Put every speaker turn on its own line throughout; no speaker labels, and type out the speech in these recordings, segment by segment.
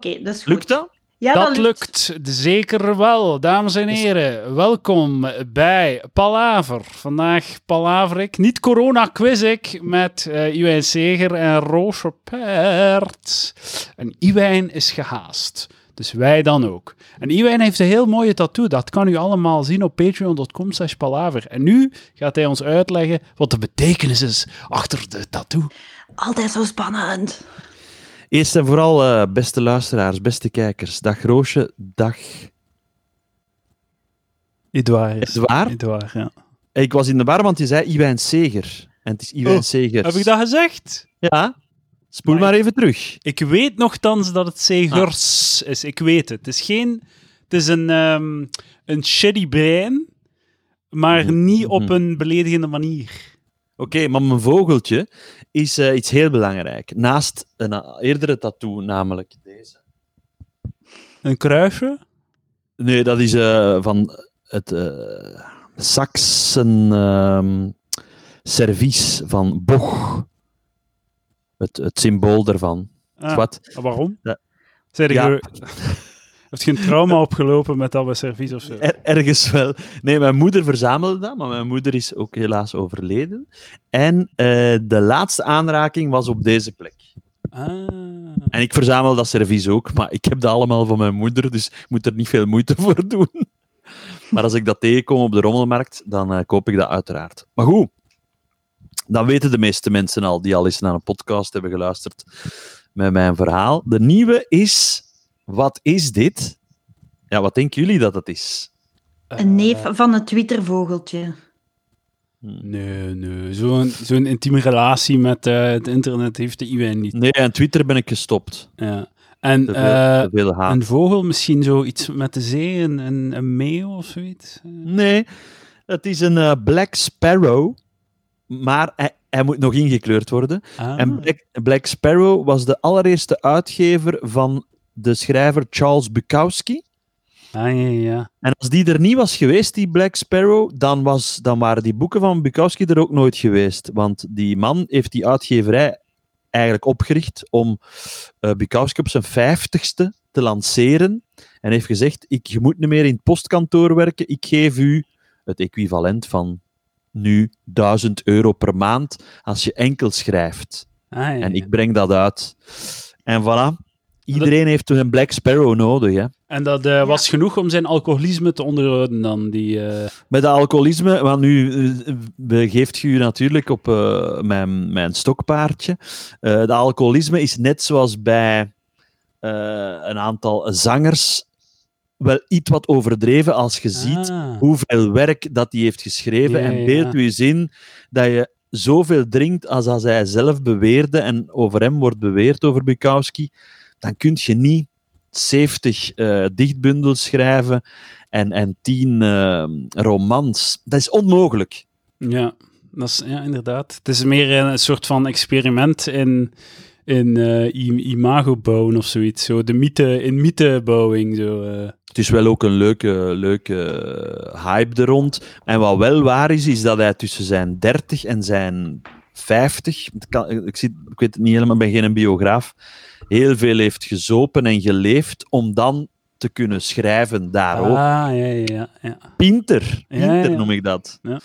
dat is goed.
Lukt dat?
Ja,
dat lukt zeker wel, dames en heren. Welkom bij Palaver. Vandaag Palaver ik, niet Corona Quiz ik, met eh Iwijn Seger en Roos Verpert. En Iwijn is gehaast, dus wij dan ook. En Iwijn heeft een heel mooie tattoo, dat kan u allemaal zien op patreon.com slash palaver. En nu gaat hij ons uitleggen wat de betekenis is achter de tattoo.
Altijd zo spannend.
Eerst en vooral, eh, beste luisteraars, beste kijkers. Dag Roosje, dag.
Edouard
Is het waar?
Edouard, ja.
Eh, Ik was in de war, want je zei Iwijn Seger. En het is Iwijn
Oh,
Segers.
Heb ik dat gezegd?
Ja. Spoel
Maar
maar even terug.
Ik weet nogthans dat het Segers
Ah.
is. Ik weet het. Het is geen... Het is een, ehm, een shitty brein, maar
Mhm.
niet op een beledigende manier.
Oké, maar mijn vogeltje is eh, iets heel belangrijk. Naast een eh, eerdere tattoo, namelijk deze.
Een kruisje?
Nee, dat is eh, van het eh Saxen ehm, servies van Boch. Het, het symbool daarvan.
Ah,
Wat?
Waarom?
Ja.
Zei
Ja.
je... Heeft geen trauma opgelopen met dat bij servies of zo?
Er- ergens wel. Nee, mijn moeder verzamelde dat, maar mijn moeder is ook helaas overleden. En eh, de laatste aanraking was op deze plek.
Ah.
En ik verzamel dat servies ook, maar ik heb dat allemaal van mijn moeder, dus ik moet er niet veel moeite voor doen. Maar als ik dat tegenkom op de rommelmarkt, dan eh, koop ik dat uiteraard. Maar goed, dat weten de meeste mensen al, die al eens naar een podcast hebben geluisterd met mijn verhaal. De nieuwe is, wat is dit? Ja, wat denken jullie dat het is?
Eh,
Een neef van een Twittervogeltje.
Nee, nee. Zo'n zo'n intieme relatie met eh, het internet heeft de Iwijn niet.
Nee, aan Twitter ben ik gestopt.
Ja. En
Te veel,
eh,
te veel haat.
Een vogel, misschien zoiets met de zee, een, een, een meeuw of zoiets. Eh,
Nee, het is een eh, Black Sparrow, maar hij- hij moet nog ingekleurd worden.
ah.
En Black, Black Sparrow was de allereerste uitgever van de schrijver Charles Bukowski.
Ah, ja, ja.
En als die er niet was geweest, die Black Sparrow, dan, was, dan waren die boeken van Bukowski er ook nooit geweest. Want die man heeft die uitgeverij eigenlijk opgericht om eh, Bukowski op zijn vijftigste te lanceren. En heeft gezegd, ik, je moet niet meer in het postkantoor werken, ik geef u het equivalent van nu 1000 euro per maand als je enkel schrijft.
Ah, ja,
En
ja.
ik breng dat uit. En voilà. Iedereen heeft toen een Black Sparrow nodig. Hè.
En dat eh, was genoeg om zijn alcoholisme te onderhouden dan, die... eh,
Met dat alcoholisme, want nu eh, begeeft u natuurlijk op eh, mijn, mijn stokpaardje. Eh dat alcoholisme is net zoals bij eh, een aantal zangers wel iets wat overdreven als je ziet
ah.
hoeveel werk dat hij heeft geschreven.
Ja, ja,
en beeld
ja.
u eens in dat je zoveel drinkt als, als hij zelf beweerde en over hem wordt beweerd over Bukowski, dan kun je niet 70 eh, dichtbundels schrijven en, en 10 eh, romans. Dat is onmogelijk.
Ja, dat is, ja, inderdaad. Het is meer een soort van experiment in, in eh, im- imago bouwen of zoiets. Zo de mythe, in mythebouwing, zo... eh.
Het is wel ook een leuke, leuke eh, hype er rond. En wat wel waar is, is dat hij tussen zijn 30 en zijn 50, het kan- ik, zie, ik weet het niet helemaal, ik ben geen biograaf, heel veel heeft gezopen en geleefd om dan te kunnen schrijven daarover.
Ah, ja, ja, ja, ja.
Pinter,
Ja, ja,
Pinter
ja.
noem ik dat.
Ja.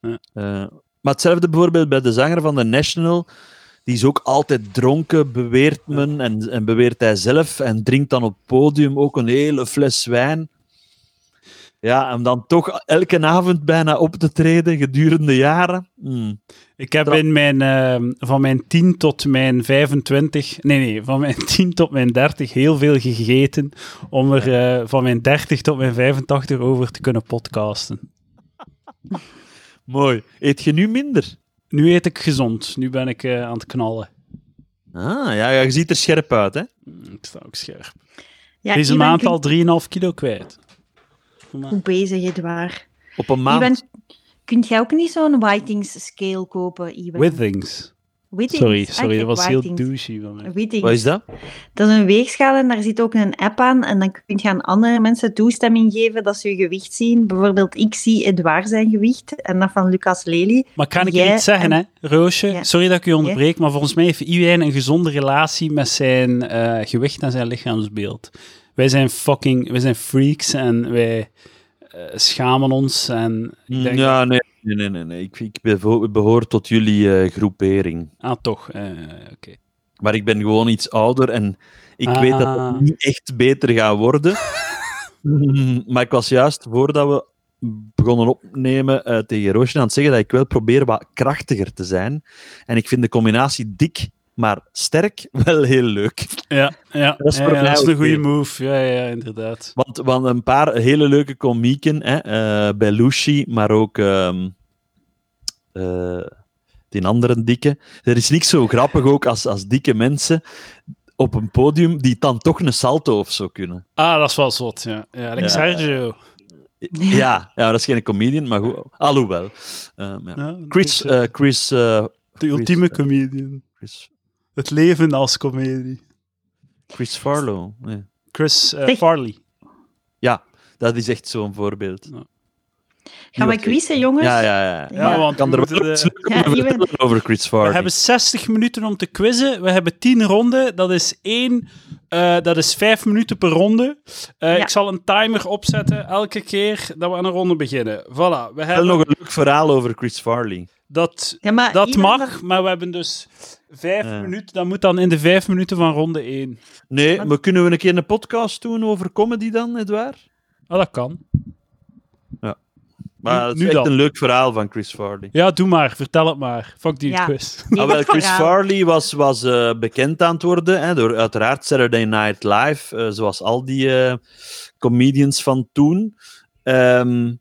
Ja.
Eh, maar hetzelfde bijvoorbeeld bij de zanger van The National. Die is ook altijd dronken, beweert men, en, en beweert hij zelf. En drinkt dan op het podium ook een hele fles wijn. Ja, om dan toch elke avond bijna op te treden gedurende jaren. Hmm.
Ik heb
Tra-
in mijn, ehm, van mijn 10 tot mijn 25, nee, nee, van mijn 10 tot mijn 30 heel veel gegeten om er eh, van mijn 30 tot mijn 85 over te kunnen podcasten.
Mooi. Eet je nu minder?
Nu eet ik gezond, nu ben ik eh, aan het knallen.
Ah, ja, ja, je ziet er scherp uit, hè?
Ik sta ook scherp.
Ja,
Deze
Iwan,
maand
kun-
al 3,5 kilo kwijt. Maar-
Goed bezig, Edouard.
Op een maand.
Iwan, kunt jij ook niet zo'n whitings scale kopen, Iwan?
Withings.
Wittings.
Sorry,
Ah,
sorry,
kijk,
dat was heel
Waardings.
douchey van mij.
Wittings.
Wat is dat?
Dat is een weegschaal en daar zit ook een app aan. En dan kun je aan andere mensen toestemming geven dat ze je gewicht zien. Bijvoorbeeld, ik zie Edouard zijn gewicht en dat van Lucas Lely.
Maar kan ik
Jij
iets zeggen, hè? Roosje,
Ja.
sorry dat ik u onderbreek, maar volgens mij heeft iedereen een gezonde relatie met zijn eh, gewicht en zijn lichaamsbeeld. Wij zijn fucking, wij zijn freaks en wij eh, schamen ons en ik denk,
Ja, nee, nee, nee, nee, nee. Ik, ik bevo- behoor tot jullie eh, groepering.
ah toch, eh, oké.
Maar ik ben gewoon iets ouder en ik weet dat
Ah.
het niet echt beter gaat worden. Mm, maar ik was juist, voordat we begonnen opnemen eh, tegen Roosje, aan het zeggen dat ik wel probeer wat krachtiger te zijn. En ik vind de combinatie dik, maar sterk, wel heel leuk.
Ja, ja,
Dat is
ja,
voor
ja,
mij
dat is een
oké.
goede move, ja, ja, inderdaad.
Want, want een paar hele leuke komieken, hè, eh, Belushi, maar ook ehm, eh, die andere dikke. Er is niks zo grappig ook als, als dikke mensen op een podium die dan toch een salto of zo kunnen.
Ah, dat is wel zot, ja. Ja, like
Ja.
Sergio.
Ja, ja dat is geen comedian, maar goed. Alhoewel. Ehm, ja.
Ja,
Chris,
dat is, eh,
eh, Chris, eh,
de ultieme comedian.
Chris,
Het leven als comedie.
Chris Farlow. nee.
Chris eh,
Zeg.
Farley.
Ja, dat is echt zo'n voorbeeld.
Ja.
Die
Gaan
was
we
echt-
quizzen, jongens?
Ja, ja, ja.
Ja,
Ik
want
kan
we
er
moeten
wel
de-
iets leuks
Ja,
over
je bent-
vertellen over Chris Farley.
We hebben 60 minuten om te quizzen. We hebben 10 ronden. Dat is één. eh, dat is 5 minuten per ronde. Eh,
Ja.
Ik zal een timer opzetten elke keer dat we aan een ronde beginnen. Voilà. We
Wel
hebben
nog een leuk verhaal over Chris Farley.
dat,
Ja, maar
dat
iemand
mag, maar we hebben dus 5
Ja.
minuten. Dat moet dan in de 5 minuten van ronde 1.
Nee,
Wat?
maar kunnen we een keer een podcast doen over comedy dan, Edouard?
Oh, dat kan.
Maar
Nu-
het is
nu
echt
dan.
een leuk verhaal van Chris Farley.
Ja, doe maar. Vertel het maar. Fuck die
Ja.
quiz.
Heel
Ah, wel,
het
Chris
verhaal.
Farley was, was eh, bekend aan het worden hè, door uiteraard Saturday Night Live, eh, zoals al die eh, comedians van toen. Ehm,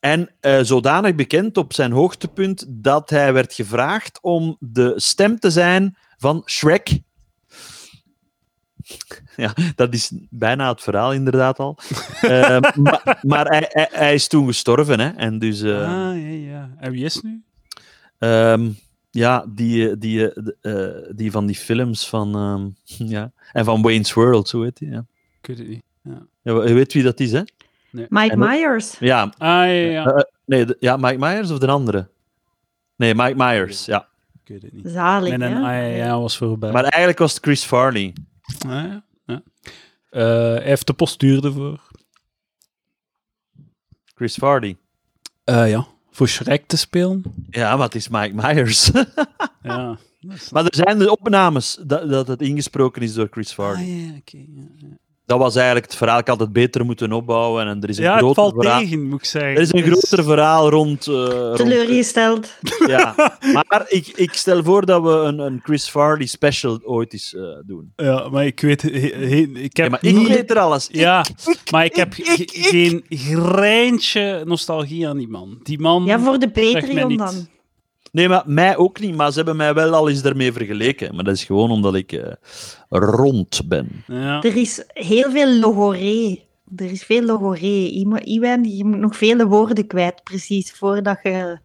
en eh, zodanig bekend op zijn hoogtepunt dat hij werd gevraagd om de stem te zijn van Shrek. Ja, dat is bijna het verhaal inderdaad al. Ehm, maar maar hij, hij, hij is toen gestorven, hè? En dus. eh,
Ah, ja, ja. En wie is het nu?
Ehm, ja, die, eh, die, eh, de, eh, die van die films van... ehm, ja. En van Wayne's World, zo heet die. Ja.
Ik weet het niet. Ja.
Ja, je weet wie dat is, hè?
Mike
En ook-
Myers.
Ja,
Ah, ja, ja.
Eh, nee, de- ja Mike Myers of de andere? Nee, Mike Myers, ja.
Ik weet het niet.
Zalig,
En een
hè?
ah, ja, ja, was voorbij.
Maar eigenlijk was het Chris Farley.
Ah, ja. Ja. Eh, hij heeft de postuur ervoor.
Chris Farley.
Eh, ja, voor Shrek te spelen.
Ja, maar het is Mike Myers.
Ja. Dat is-
maar er zijn de opnames dat, dat het ingesproken is door Chris Farley.
Ah, ja, oké, ja, ja.
Dat was eigenlijk het verhaal. Ik had het beter moeten opbouwen. En er is een
ja, het
groter
valt
verhaal.
tegen, moet ik zeggen.
Er is een
Dus-
groter verhaal rond, eh, rond
Teleurgesteld.
Ja, maar ik, ik stel voor dat we een, een Chris Farley special ooit eens eh, doen.
Ja, maar ik weet... he- he- ik
Ja,
heb
maar ik
niet-
weet er alles. Ik-
Ja, maar ik heb
ik- ik-
ge- geen greintje nostalgie aan die man. Die man...
Ja, voor de
mij
Patreon
niets.
dan.
Nee, maar mij ook niet. Maar ze hebben mij wel al eens daarmee vergeleken. Maar dat is gewoon omdat ik eh, rond ben.
Ja.
Er is heel veel logoré. Er is veel logoré. Iwa- Iwan, je moet nog vele woorden kwijt, precies, voordat je...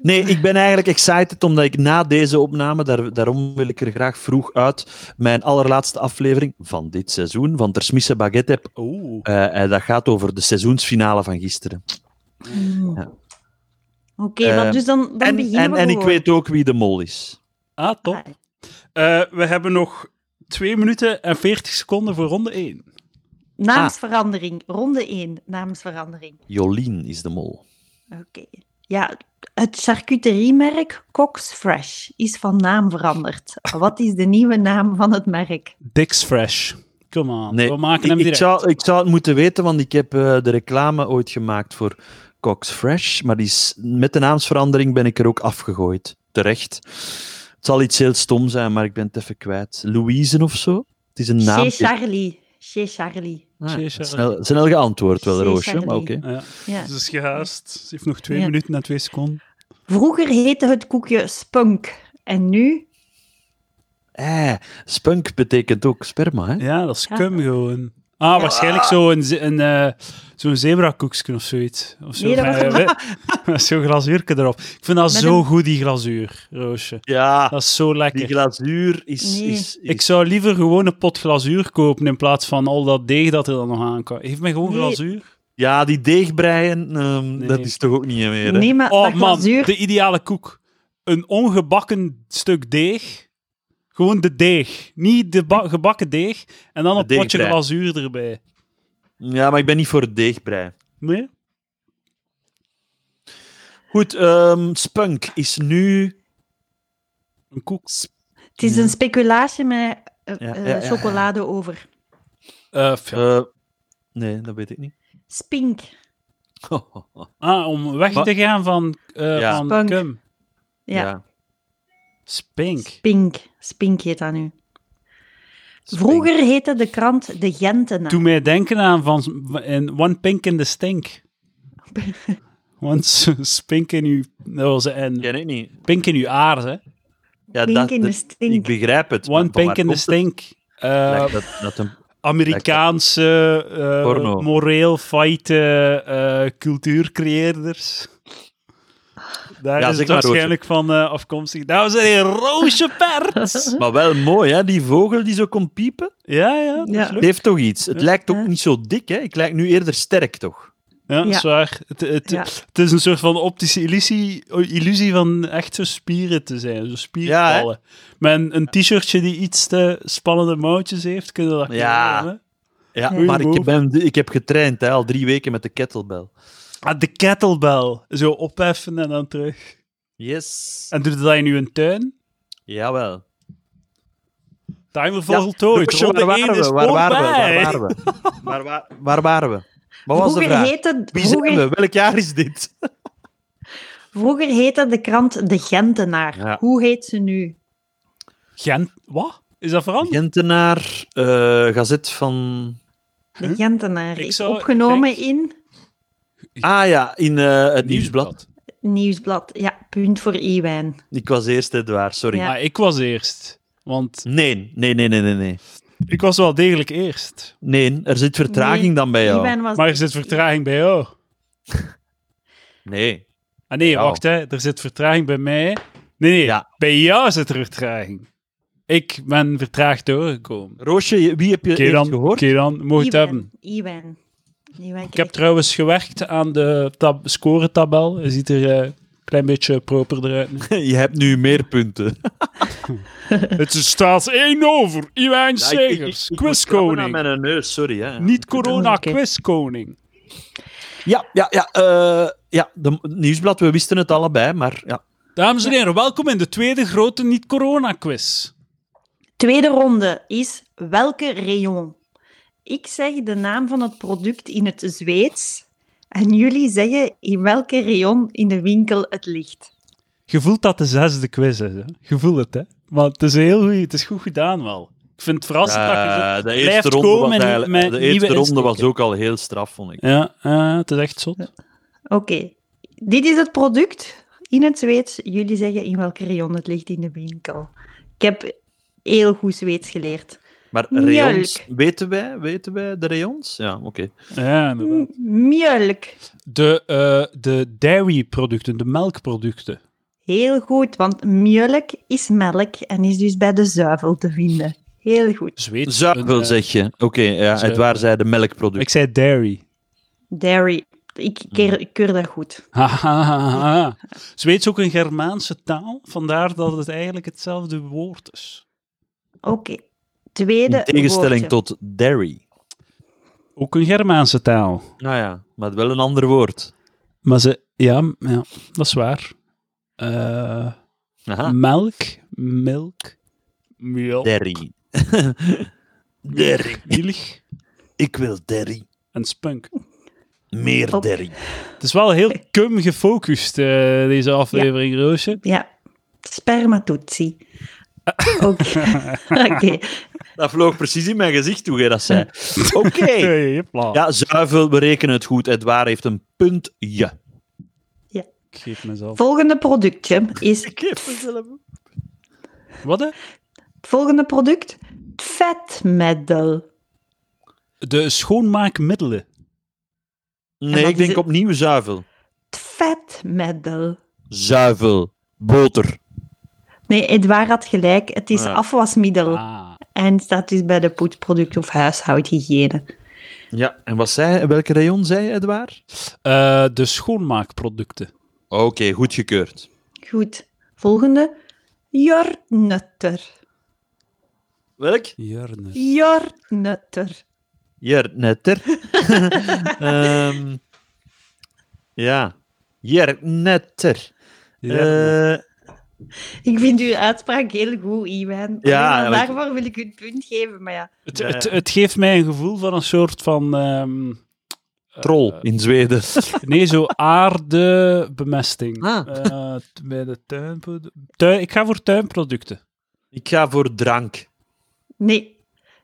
Nee, ik ben eigenlijk excited omdat ik na deze opname, daar, daarom wil ik er graag vroeg uit, mijn allerlaatste aflevering van dit seizoen van Ter Smisse Baguette heb.
Oeh.
Eh, en dat gaat over de seizoensfinale van gisteren.
Hmm.
Ja.
Oké,
Eh,
maar dus dan, dan
En,
beginnen
en,
we
en ik
gewoon.
weet ook wie de mol is.
Ah, top.
Ah,
Eh, we hebben nog 2 minuten en 40 seconden voor ronde 1.
Naamsverandering.
Ah.
Ronde 1, naamsverandering.
Jolien is de mol.
Oké. Ja, het charcuteriemerk Cox Fresh is van naam veranderd. Wat is de nieuwe naam van het merk?
Dix Fresh. Come on.
Nee,
we maken
Ik,
hem
ik,
direct.
zou, ik zou het moeten weten, want ik heb eh, de reclame ooit gemaakt voor Cox Fresh. Maar die is, met de naamsverandering ben ik er ook afgegooid. Terecht. Het zal iets heel stom zijn, maar ik ben het even kwijt. Louise of zo? Het is een naam.
Chez Charlie. Chez Charlie.
Ah,
Chez
snel, snel geantwoord wel,
Chez
Roosje.
Charlie.
Maar oké.
Ja.
Ja.
Ze is gehaast. Ze heeft nog twee
Ja.
minuten en twee seconden.
Vroeger heette het koekje Spunk. En nu?
Eh, spunk betekent ook sperma, hè?
Ja, dat is
Hm? Ja.
cum gewoon. Ah, waarschijnlijk zo'n ze- een, eh, zo'n zebrakoeksken of zoiets. Of zo.
Nee, dat was-
Eh, we- met zo'n glazuurke erop. Ik vind dat
Met
zo
een-
goed, die glazuur, Roosje.
Ja,
Dat is zo
die
lekker.
glazuur is...
Nee.
is, is-
Ik zou liever gewoon een pot glazuur kopen in plaats van al dat deeg dat er dan nog aan kan. Heeft mij gewoon
Nee.
glazuur.
Ja, die deegbreien, ehm,
Nee.
dat is toch ook niet meer, hè?
Nee, maar
Oh
dat
man,
Ah, glazuur...
de ideale koek. Een ongebakken stuk deeg. Gewoon de deeg. Niet de ba- gebakken deeg. En dan
De
een potje
deegbrei.
glazuur erbij.
Ja, maar ik ben niet voor deegbrei.
Nee?
Goed, ehm, Spunk is nu...
Een koek.
Het is
Ja.
een speculatie met eh,
Ja,
eh,
ja, ja, ja.
chocolade over.
Eh, f-
eh, nee, dat weet ik niet.
Spink.
Ah, om weg
Wa-
te gaan van, eh
Ja.
van
Spunk.
Cum.
Ja.
Spink.
Spink. Spink heet dat nu. Vroeger heette de krant De Gentenaar.
Doe mij denken aan van s- in One Pink in the Stink. Want s- spink in uw... Dat was een,
Ken ik niet.
Pink in uw aard, hè.
Ja,
Pink
dat,
in de
dat-
stink.
Ik begrijp het. maar
One
van
Pink in the
waar komt
Stink.
het?
Eh,
Lijkt Dat, dat een...
Amerikaanse, eh,
Porno.
moreel feite eh cultuurcreëerders. Daar
Ja,
is
zeg
het
maar,
waarschijnlijk van eh, afkomstig. Dames en heren, Roosje Perts!
Maar wel mooi, hè? Die vogel die zo kon piepen.
ja, ja, dat is
Ja.
Het heeft toch iets. Het lijkt ook
Ja.
niet zo dik, hè? Ik lijk nu eerder sterk, toch?
Ja, dat
Ja.
is waar. Het, het,
Ja.
het is een soort van optische illusie, illusie van echt zo spieren te zijn, zo spierballen. Met een, een t-shirtje die iets te spannende mouwtjes heeft, kunnen we dat
Ja.
creëren,
Ja,
Ja.
maar ik
Move.
ben ik heb getraind, hè, al drie weken met de kettlebell.
hè. Ah, de kettlebell. Zo opheffen en dan terug.
Yes.
En doet dat in uw tuin?
Jawel.
Timer
Ja,
voltooid.
Roosje,
Ronde
waar,
één
waren
is
we? waar waren we? Waar
voorbij.
waren we? Waar, wa- waar waren we? Wat was de
Vroeger
vraag?
heette,
Wie zijn
vroeger,
we? Welk jaar is dit?
vroeger heette de krant De Gentenaar.
Ja.
Hoe heet ze nu?
Gent? Wat? Is dat veranderd?
Gentenaar, eh, gazet van...
De
Huh?
Gentenaar
Ik
is
zou-
opgenomen
ik-
in
Ah ja, in eh, het Nieuwsblad.
Nieuwsblad. Ja, punt voor Iwijn.
Ik was eerst Edouard, sorry.
Ja.
Ah, ik was eerst. Want
Nee, nee, nee, nee, nee, nee.
ik was wel degelijk eerst.
Nee, er zit vertraging
Nee,
dan bij jou.
Iwijn was...
Maar er zit vertraging bij jou.
Nee.
Ah nee,
jou.
wacht hè. Er zit vertraging bij mij. Nee, nee.
Ja.
Bij jou zit er vertraging. Ik ben vertraagd doorgekomen.
Roosje, je- wie heb je
Oké
eerst
dan,
gehoord?
oké dan, mocht het
Iwijn.
hebben.
Iwijn. Iwijn
Ik heb
Kreek.
trouwens gewerkt aan de tab- scoretabel. Je ziet er eh, een klein beetje proper eruit. nu.
Je hebt nu meer punten.
het staat 1 over. Iwijn Segers,
Aan
quizkoning.
mijn neus, sorry. Hè.
Niet corona,
Oké.
quizkoning.
Ja, ja, ja. eh, ja, de nieuwsblad, we wisten het allebei, maar ja.
Dames en heren, welkom in de tweede grote niet-corona-quiz.
Tweede ronde is welke rayon? Ik zeg de naam van het product in het Zweeds en jullie zeggen in welke rayon in de winkel het ligt.
Je voelt dat de zesde quiz is. Hè? Je voelt het, hè? Maar het is, heel goed, het is goed gedaan wel. Ik vind het verrassend dat
Eh, de
je zo
eerste
blijft
ronde, was,
komen met,
eigenlijk-
met
de
nieuwe
eerste ronde was
insteken.
ook al heel straf, vond ik.
Ja, eh, het is echt zot.
Oké, dit is het product in het Zweeds. Jullie zeggen in welke rayon het ligt in de winkel. Ik heb heel goed Zweeds geleerd.
Maar
Mjölk.
rayons, weten wij, weten wij de rayons? Ja, oké.
Ja, inderdaad.
M- Mjölk.
De, eh, de dairy-producten, de melkproducten.
Heel goed, want mjölk is melk en is dus bij de zuivel te vinden. Heel goed.
Zweeds.
Zuivel,
een, eh,
zeg je. Oké, ja,
zuivel.
het waar zei de melkproducten.
Ik zei dairy.
Dairy. Ik, keer, ik keur dat goed.
Ha, ha, ha, ha, ha. Zweeds ook een Germaanse taal, vandaar dat het eigenlijk hetzelfde woord is.
Oké. Tweede
In tegenstelling
woordje.
tot dairy.
Ook een Germaanse taal.
Nou ja, maar wel een ander woord.
Maar ze, ja, m- ja dat is waar. Eh,
Aha,
Melk, milk, mjölk,
dairy. dairy.
milch
Ik wil dairy.
en spunk.
Meer
Op.
derry.
Het is wel heel cum gefocust, eh, deze aflevering, Roosje.
Ja. Spermatoetsie. Oké. Oké.
Dat vloog precies in mijn gezicht toen jij dat zei. Oké.
Hey, hopla.
Ja, zuivel, we rekenen het goed. Edouard heeft een puntje.
Ik geef mezelf.
Volgende productje is... Het
geef mezelf een
Wat? hè?
volgende product? Vetmiddel.
De schoonmaakmiddelen.
Nee,
wat
ik denk
is het?
opnieuw zuivel.
Het vetmiddel.
Zuivel. Boter.
Nee, Edouard had gelijk. Het is
Ja.
afwasmiddel.
Ah.
En staat dus bij de poetsproducten of huishoudhygiëne.
Ja, en wat zei, welke rayon zei je, Edouard?
Eh, de schoonmaakproducten.
Oké, goedgekeurd.
Goed. Volgende. Jornutter.
Welk? Eh,
Jurne.
Jornutter.
Jernetter. Ehm ja, Jernetter. Eh
Ik vind uw uitspraak heel goed, Iwan.
Ja,
Alleen al
maar ik-
daarvoor wil ik u het punt geven, maar ja.
het,
Ja, ja.
het, het geeft mij een gevoel van een soort van... ehm,
troll
Eh,
in Zweden.
nee, zo aardebemesting.
Ah.
Eh, t- bij de tuinprodu- tuin... Ik ga voor tuinproducten.
Ik ga voor drank.
Nee.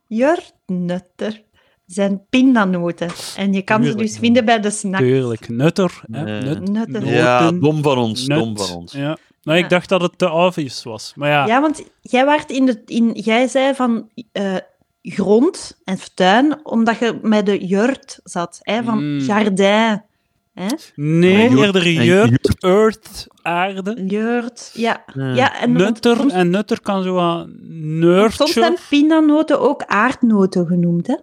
Jornutter zijn pindanoten. En je kan ze
Tuurlijk.
dus vinden bij de snack.
Tuurlijk, nutter. Hè?
Nee.
Nut,
Nutter.
noten,
Ja, dom van ons.
nut.
Dom van ons.
Ja. Nou,
Ja.
ik dacht dat het te obvious was. Maar ja,
Ja, want jij, waart in de, in, jij zei van eh, grond en tuin, omdat je met de jurt zat, hè, van
Mm.
jardin. Hè?
nee,
En jurt-
eerder
en
jeugd, earth, aarde.
Jurt, ja.
Ja.
ja en
Nutter
soms-
en nutter kan zo wat
Soms
nurture.
zijn pindanoten ook aardnoten genoemd, hè?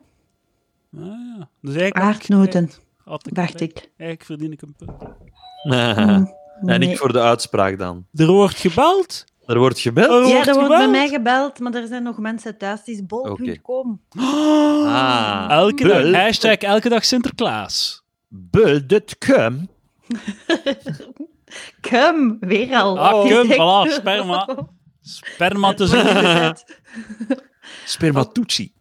Ah, ja. Dus eigenlijk had ik
Aardnoten,
gelijk. Had ik
dacht
gelijk.
ik. Mm.
Eigenlijk verdien ik een punt.
en
Nee.
ik voor de uitspraak dan.
Er wordt gebeld.
Er wordt gebeld.
Er
Ja, er wordt bij
gebeld.
mij gebeld, maar er zijn nog mensen thuis. Het is bol.com.
Oh.
Ah.
Elke
Bel-
dag, hashtag elke dag Sinterklaas.
Bel.com.
Kum, weer al.
Ah,
Het is
kum,
echt-
voilà, sperma. Sperma te zien.
Spermatoetsie.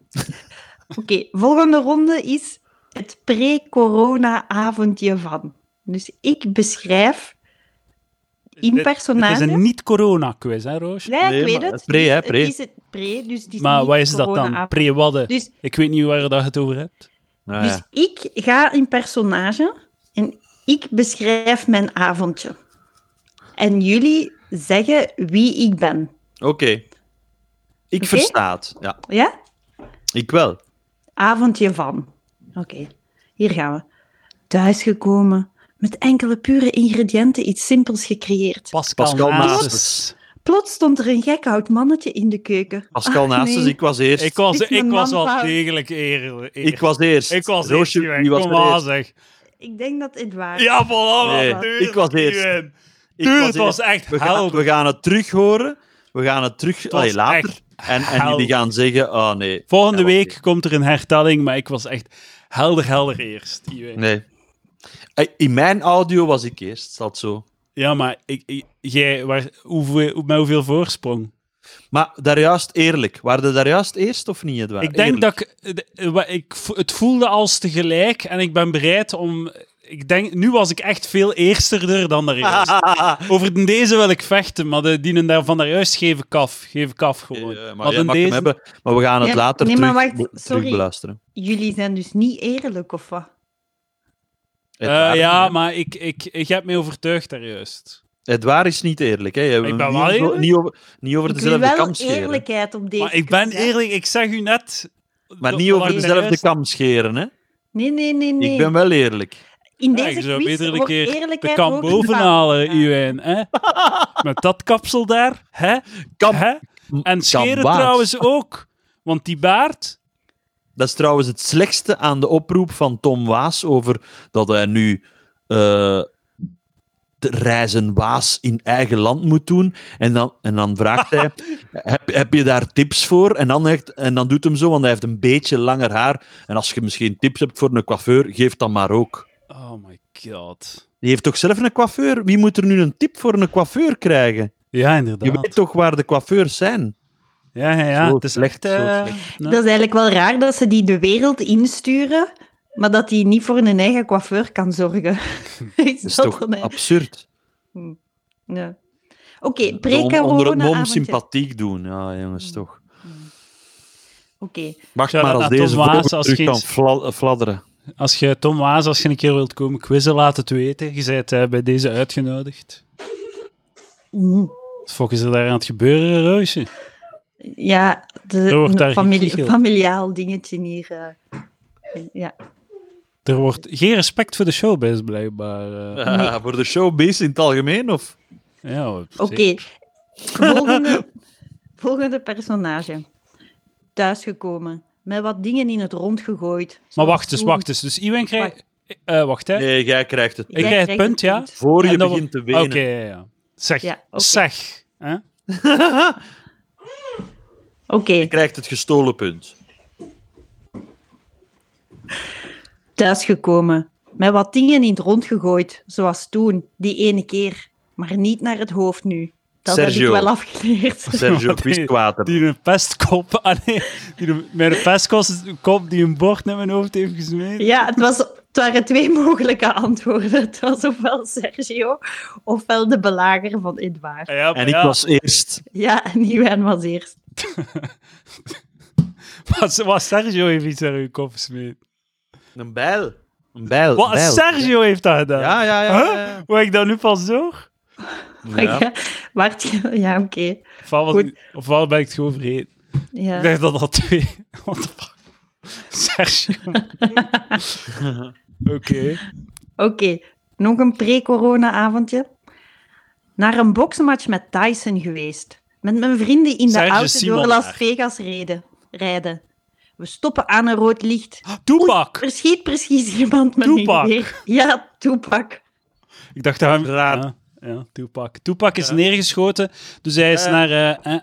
Oké, volgende ronde is het pre-corona-avondje van. Dus ik beschrijf in
Dit-
personage...
Het is een niet-corona-quiz, hè, Roosje?
Nee,
Nee,
ik weet
maar
het.
pre, hè,
Het
pre.
is het pre, dus het is
Maar
niet
wat is dat dan?
corona-avond.
Pre-wadden?
Dus,
Ik weet niet waar dat het over hebt.
Nou
dus
ja.
ik ga in personage en ik beschrijf mijn avondje. En jullie zeggen wie ik ben.
Oké. Ik
Oké?
versta het. Ja,
Ja?
ik wel.
Avondje van. Oké, hier gaan we. Thuisgekomen, met enkele pure ingrediënten iets simpels gecreëerd.
Pascal,
Pascal
Nasus.
Nasus.
Plots stond er een gek oud mannetje in de keuken.
Pascal
Ah,
naast
nee.
dus ik was eerst.
Ik was,
Dit is
ik
een
was wel
manpaal.
degelijk eerlijk.
Ik was eerst.
ik was
Roosje,
eerst.
wie
Kom
was er
maar,
eerst?
zeg.
Ik denk dat het waar is.
Ja, voilà.
Nee,
tuurlijk,
ik was eerst.
Iwan.
Ik was
Tuurlijk, het was
eerst.
echt
We gaan,
helder.
we gaan het terug horen. We gaan het terug
was
allee, later.
echt
En, en
helder.
jullie gaan zeggen: Oh nee.
Volgende
Ja, wat
week komt er een hertelling, maar ik was echt helder, helder eerst. Iwan.
Nee. Eh, In mijn audio was ik eerst, staat zo.
Ja, maar ik, ik- jij, waar, hoeveel, met hoeveel voorsprong?
Maar daarjuist eerlijk. Waren we daarjuist eerst of niet? Edouard?
Ik denk
Eerlijk.
dat ik, eh, de- eh, wa- ik vo- het voelde als tegelijk en ik ben bereid om. Ik denk, nu was ik echt veel eersterder dan daarjuist. Over den deze wil ik vechten, maar de dienen daar van daarjuist geef ik af. Geef ik af gewoon.
Eh, maar,
maar
ja,
den
mag ik hem
deze...
hebben, maar we gaan het
Ja,
later
nee, maar
terug,
wacht,
be-
sorry.
terug beluisteren.
Jullie zijn dus niet eerlijk, of wat?
Edouard-
Eh, ja, maar ik, ik, ik heb me overtuigd daarjuist.
Edouard is niet eerlijk. Hè. Je hebt
Ik
hem
ben
niet
wel
over-
eerlijk.
Niet over, niet over
Ik wil
dezelfde
wel
kam scheren.
eerlijkheid op deze
Maar ik ben
quiz, hè.
eerlijk, ik zeg u net.
Maar
dat-
niet over
waar
dezelfde
daarjuist-
kam scheren. Hè.
Nee, nee, nee, nee.
Ik ben wel eerlijk.
In
Ja,
deze
ik zou
quiz
beter een
wordt
keer de
eerlijkheid
kam
ook
bovenhalen,
bepaald.
Iwijn. Hè? Met dat kapsel daar. Hè?
Kam,
Hè? En scheren
baas.
trouwens ook. Want die baard,
Dat is trouwens het slechtste aan de oproep van Tom Waas over dat hij nu eh, de reizen Waas in eigen land moet doen. En dan, en dan vraagt hij, heb, heb je daar tips voor? En dan, heeft, en dan doet hem zo, want hij heeft een beetje langer haar. En als je misschien tips hebt voor een coiffeur, geef dan maar ook.
Oh my god.
Die heeft toch zelf een coiffeur? Wie moet er nu een tip voor een coiffeur krijgen?
Ja,
Je
inderdaad.
weet toch waar de coiffeurs zijn?
Ja, ja, ja.
Zo
het is
slecht,
echt... eh,
zo
nou,
Dat is eigenlijk wel raar dat ze die de wereld insturen, maar dat die niet voor een eigen coiffeur kan zorgen. Is
Dat is
dat
toch
dan, hè?
absurd?
Ja. Oké,
Om- onder het mom
pre-corona Oké,
sympathiek doen. Ja, jongens, toch. Wacht
Shout-out
maar als
naar
deze
Tom Waas,
vogel
als
terug
je
kan
iets-
fla- eh, fladderen.
Als je, Tom Waas, als je een keer wilt komen quizzen, laat het weten. Je bent eh, bij deze uitgenodigd.
Mm.
Wat fuck is er daar aan het gebeuren, Roosje?
Ja, de
Er wordt daar
familie-
gekicheld.
familiaal dingetje hier. eh. Ja.
Er wordt geen respect voor de showbiz, blijkbaar. eh.
Ah,
Nee.
voor de showbiz in het algemeen? Of?
ja,
Oké. Volgende, volgende personage. Thuisgekomen. Met wat dingen in het rond gegooid.
Maar
Zoals
wacht eens,
toen-
wacht eens. Dus Iwan krijgt... eh, wacht, hè.
Nee, jij krijgt het.
Ik
Jij
krijg het
krijgt
punt, ja.
Voor je
En dan-
begint te
Oké,
wenen.
ja, ja. Zeg,
Ja, oké.
zeg. Hè?
Oké,
Je krijgt het gestolen punt.
thuisgekomen. Met wat dingen in het rond gegooid. Zoals toen, die ene keer. Maar niet naar het hoofd nu. Dat
Sergio.
heb ik wel afgeleerd.
Sergio
Wat
Quist
die-
kwaad hebben.
Die een pestkop... Ah, nee. Die een, mijn pestkop die een bord naar mijn hoofd heeft gesmeten.
Ja, het, was, het waren twee mogelijke antwoorden. Het was ofwel Sergio, ofwel de belager van Edouard.
Ja, maar
En ik
ja.
was eerst.
Ja, en Iwan was eerst.
Was, was Sergio heeft iets aan uw kop gesmeed.
Een bijl. Een bijl.
Wat,
bijl.
Sergio heeft dat gedaan?
Ja, ja, ja. ja, ja.
Hoe ik dat nu pas door?
Maar
Ja.
ja, Bart, ja, oké.
Ofwel, was
Goed.
ik- ofwel ben ik het gewoon vergeten.
Ja.
Ik dacht dat dat twee... What the fuck? Sergio. Oké.
Oké, nog een pre-corona avondje. Naar een boksmatch met Tyson geweest. Met mijn vrienden in de
Sergio
auto
Simon
door Las
daar.
Vegas reden, rijden. We stoppen aan een rood licht.
Oh. Toepak.
Er schiet precies iemand met
Tupac.
een geweer. Ja, toepak.
Ik dacht dat hij...
Raar.
Ja, ja, Tupac. Tupac is neergeschoten, dus hij is
Ja.
naar, eh, eh,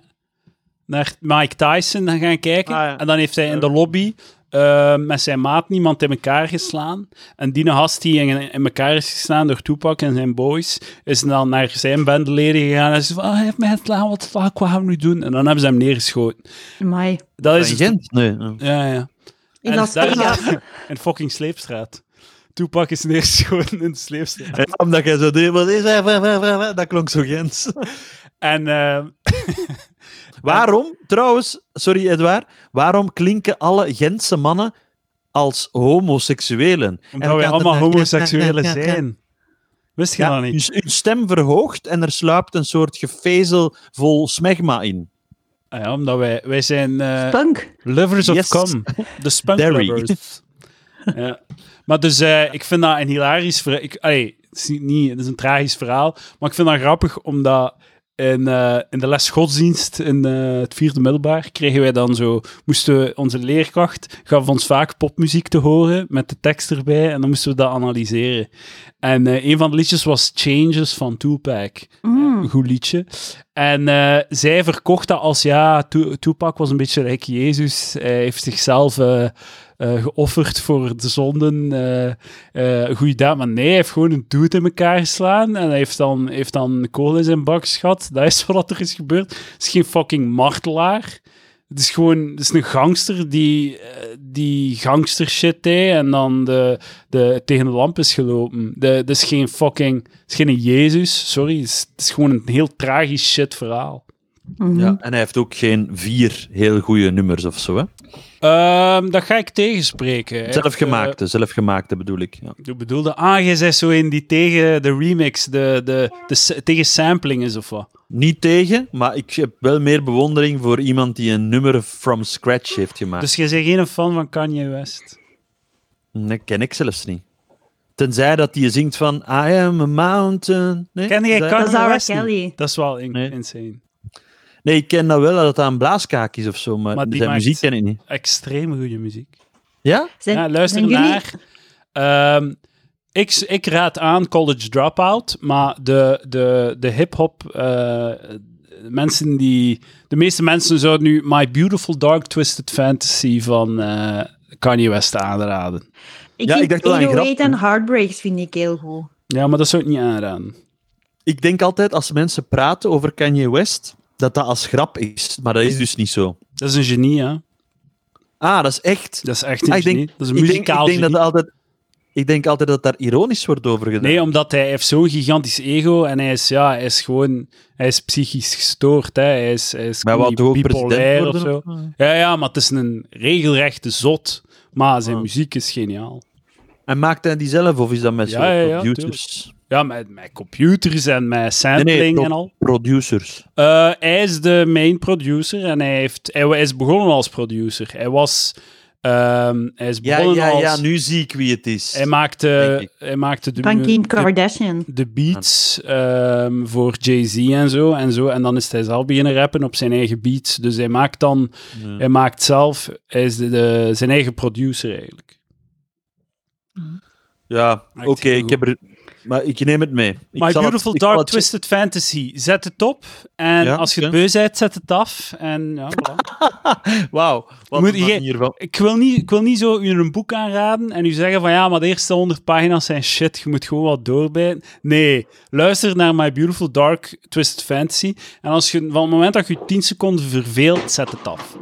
naar Mike Tyson gaan kijken.
Ah, ja.
En dan heeft hij in de lobby eh, met zijn maat niemand in elkaar geslaan. En die gast die in, in elkaar is geslaan door Tupac en zijn boys, is dan naar zijn bandleden gegaan. En ze van, "Ah, hij heeft mij geslaan, wat de fuck, wat gaan we nu doen? En dan hebben ze hem neergeschoten.
Amai.
Dat is
In
het-
Gent? Nee. ja.
Ja, ja.
In
En
Las
daar is-
Vegas.
En fucking Sleepstraat. Tupac is neergeschoten in de Sleepstraat.
Ja, omdat jij zo deed, wat is hij? Wa, wa, wa, wa. dat klonk zo Gens.
En... eh,
Waarom, trouwens, sorry Edouard, waarom klinken alle Gentse mannen als homoseksuelen? En
Omdat wij
kan
allemaal
er-
homoseksuelen zijn. Wist je
Ja,
dat niet?
hun, hun stem verhoogt en er sluipt een soort gevezel vol smegma in.
Ah ja, omdat wij, wij zijn eh,
Punk.
lovers of
Yes.
cum. De spunk
Derry.
lovers. ja. Maar dus, eh, ik vind dat een hilarisch verhaal. Ik, allee, het, is niet, niet, het is een tragisch verhaal, maar ik vind dat grappig, omdat in, eh, in de les godsdienst in eh, het vierde middelbaar kregen wij dan zo, moesten we, onze leerkracht gaf ons vaak popmuziek te horen, met de tekst erbij, en dan moesten we dat analyseren. En eh, een van de liedjes was Changes van Tupac.
Mm.
Een goed liedje. En eh, zij verkocht dat als, ja, Tu- Tupac was een beetje rijk Jezus. Hij heeft zichzelf eh, eh, geofferd voor de zonden. eh, eh, een goede daad. Maar nee, hij heeft gewoon een dude in elkaar geslaan. En hij heeft dan, heeft dan kool in zijn bak gehad. Dat is wat er is gebeurd. Het is geen fucking martelaar. Het is gewoon het is een gangster die, eh, die gangster shit deed en dan de, de, tegen de lamp is gelopen. De- Het is geen fucking... Het is geen Jezus, sorry. Het is, het is gewoon een heel tragisch shit verhaal.
Mhm.
Ja, en hij heeft ook geen vier heel goede nummers of zo. Hè?
Ehm, dat ga ik tegenspreken. Echt,
Zelfgemaakte, zelfgemaakte bedoel ik. Ja.
eh, ik bedoelde, ah, je zei zo in die tegen de remix, de, de, de, s- tegen sampling is of wat.
Niet tegen, maar ik heb wel meer bewondering voor iemand die een nummer from scratch heeft gemaakt.
Dus je bent geen fan van Kanye West.
Nee, ken ik zelfs niet. Tenzij dat die zingt van I am a mountain. Nee,
Ken jij
dat-
Kanye
Dat is R.
West niet?
Kelly.
Dat is wel in-
Nee.
insane.
Nee, ik ken dat wel, dat dat een blaaskaak is of zo, maar,
Maar die
zijn
maakt-
muziek ken ik niet.
Extreem goede muziek.
Ja?
Zijn,
ja, luister
zijn jullie-
naar. Ehm, ik, ik raad aan College Dropout, maar de, de, de hip-hop. eh, mensen die. De meeste mensen zouden nu My Beautiful Dark Twisted Fantasy van eh, Kanye West aanraden.
Ik
Ja,
vind
ik dacht wel aan een grap.
808 en Heartbreaks vind ik heel goed.
Ja, maar dat zou ik niet aanraden.
Ik denk altijd als mensen praten over Kanye West, dat dat als grap is, maar dat is dus niet zo.
Dat is een genie, hè?
Ah, dat is echt.
Dat is echt een
Ah, ik
genie.
denk-
dat is een
ik denk,
muzikaal
ik denk dat
genie.
dat altijd, ik denk altijd dat daar ironisch wordt over gedaan.
Nee, omdat hij heeft zo'n gigantisch ego en hij is, ja, hij is gewoon hij is psychisch gestoord. Hè. Hij is, hij is
maar wat
gewoon
doe ook
bipolair
president
of zo.
worden?
Ja, ja, maar het is een regelrechte zot. Maar zijn
Ah.
muziek is geniaal.
En maakt hij die zelf of is dat met
Ja,
zo'n
ja, ja,
producers?
Ja, met, met computers en met sampling
Nee, nee,
en al.
producers.
Eh, hij is de main producer en hij, heeft, hij wa- is begonnen als producer. Hij was
Ehm, hij is
Ja,
begonnen
ja,
als...
ja, nu zie ik wie het is.
Hij maakte,
Denk
hij maakte de,
Van
mu-
Kim
de,
Kardashian.
de beats ehm, voor Jay-Z en zo, en zo. En dan is hij zelf beginnen rappen op zijn eigen beats. Dus hij maakt dan...
Ja.
Hij maakt zelf... Hij is de, de- zijn eigen producer eigenlijk.
Ja,
Maar
oké,
ik zie het
ik heb er... Maar ik neem het mee. Ik
My
zal het-
Beautiful
ik zal
Dark
het-
Twisted Fantasy. Zet het op. En
Ja,
als je het
oké.
beu bent, zet het af. En ja, voilà.
Wauw, wat
Moet
Moet
je-
hiervan.
ik, wil niet, ik wil niet zo u een boek aanraden en u zeggen van ja, maar de eerste 100 pagina's zijn shit. Je moet gewoon wat doorbijten. Nee, luister naar My Beautiful Dark Twisted Fantasy. En als je, van het moment dat je 10 seconden verveelt, zet het af.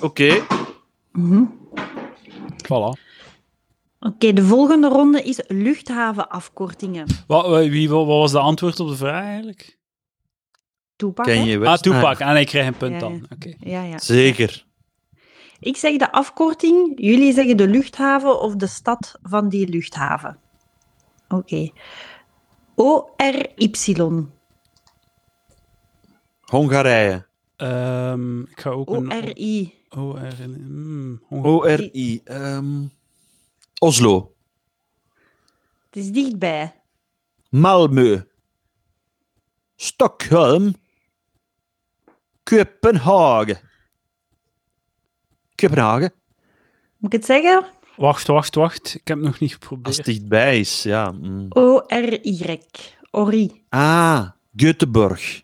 Oké,
Mhm.
Voilà.
Oké, de volgende ronde is luchthavenafkortingen.
Wat, wa- wie, wa- wat was de antwoord op de vraag eigenlijk?
Toepak,
ken
hè?
je wel. Ah,
Ah, Toepak. En ik krijg een
Ja,
punt dan.
ja.
Oké.
Ja, ja.
Zeker.
Ik zeg de afkorting, jullie zeggen de luchthaven of de stad van die luchthaven. Oké. ORY.
Hongarije.
Ehm, ik ga ook een...
ORI.
OR... Mm, Hongarije.
ORI. ehm, Oslo.
Het is dichtbij.
Malmö. Stockholm. Kopenhagen. Kopenhagen.
Moet ik het zeggen?
Wacht, wacht, wacht. Ik heb het nog niet geprobeerd.
Als het dichtbij is, ja. mm.
O-R-Y. Ori.
Ah, Göteborg.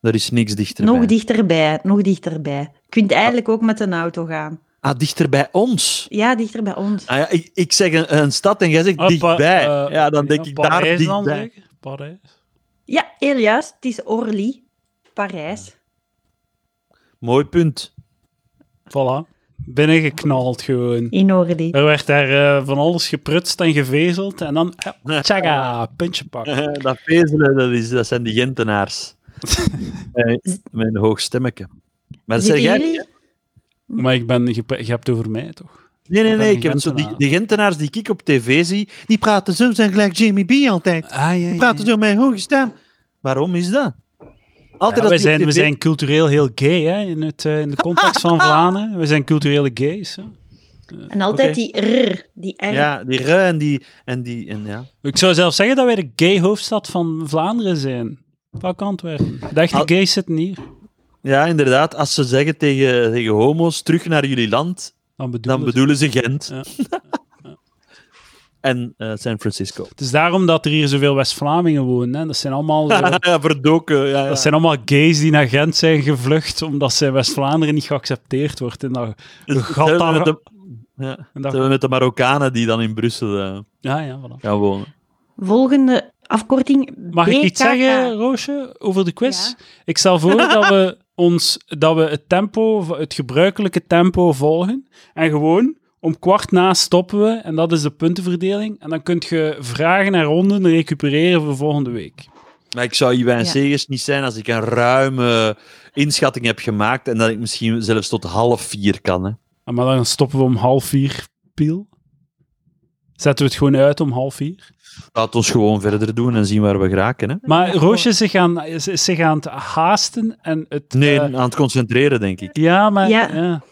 Dat is niks dichterbij.
Nog dichterbij, nog dichterbij. Je kunt eigenlijk ook met een auto gaan.
Ah, dichter bij ons.
Ja, dichter bij ons.
Ah, ja, ik, ik zeg een, een stad en jij zegt
Ah, Pa-
dichtbij.
eh,
ja, dan denk ik daar
Parijs dan,
dichtbij.
zeker? Parijs.
Ja, heel juist. Het is Orly, Parijs.
Mooi punt.
Voilà. Binnengeknald gewoon.
In Orly.
Er werd daar eh, van alles geprutst en gevezeld. En dan, ja, tjaga, puntje pakken.
dat vezelen, dat, is, dat zijn die Gentenaars. Eh, Met een hoog stemmetje. Maar dat zeg
Zitten
jij...
jullie-
Maar ik ben, je, je hebt het over mij, toch?
Nee, nee,
Dat
nee.
zijn
Ik heb het zo, die,
Gentenaars.
die Gentenaars die ik op tv zie, die praten zo, zijn gelijk Jamie B altijd.
Ah, ja,
Die praten zo met een hoge stem. Waarom is dat? Altijd
we,
dat die
zijn,
op
we
tv
zijn cultureel heel gay, hè, in, het, eh, in de context van Vlaanderen. We zijn culturele gays. Hè.
En altijd
Oké.
die R, die R.
Ja, die rui en die... En die en ja.
Ik zou zelfs zeggen dat wij de gay hoofdstad van Vlaanderen zijn. Pak Antwerpen. De echte
Al-
gays zitten hier.
ja, inderdaad. Als ze zeggen tegen, tegen homo's, terug naar jullie land,
Dan bedoel
dan
ik.
bedoelen ze Gent.
Ja.
en eh, San Francisco.
Het is daarom dat er hier zoveel West-Vlamingen wonen. Hè. Dat zijn allemaal zo...
ja, verdoken. Ja, ja.
Dat zijn allemaal gays die naar Gent zijn gevlucht omdat ze in West-Vlaanderen niet geaccepteerd wordt. En dat,
Dus
een gat
hetzelfde
daar-
met de- Ja,
en dat-
hetzelfde met de Marokkanen die dan in Brussel eh,
ja, ja, voilà.
gaan wonen.
Volgende afkorting.
Mag ik iets
BKK.
zeggen, Roosje, over de quiz?
Ja.
Ik stel voor dat we, ons, dat we het tempo, het gebruikelijke tempo volgen. En gewoon om kwart na stoppen we. En dat is de puntenverdeling. En dan kun je vragen en ronden recupereren voor volgende week.
Maar ik zou Iwijn
Ja.
Segers niet zijn als ik een ruime inschatting heb gemaakt en dat ik misschien zelfs tot half vier kan. Hè.
En Ah, maar dan stoppen we om half vier, Piel. Zetten we het gewoon uit om half vier.
Laat ons gewoon verder doen en zien waar we geraken. Hè.
Maar Roosje is zich aan, is, is zich aan het haasten en het...
Nee,
eh,
aan het concentreren, denk ik.
ja, maar... Ja.
Ja.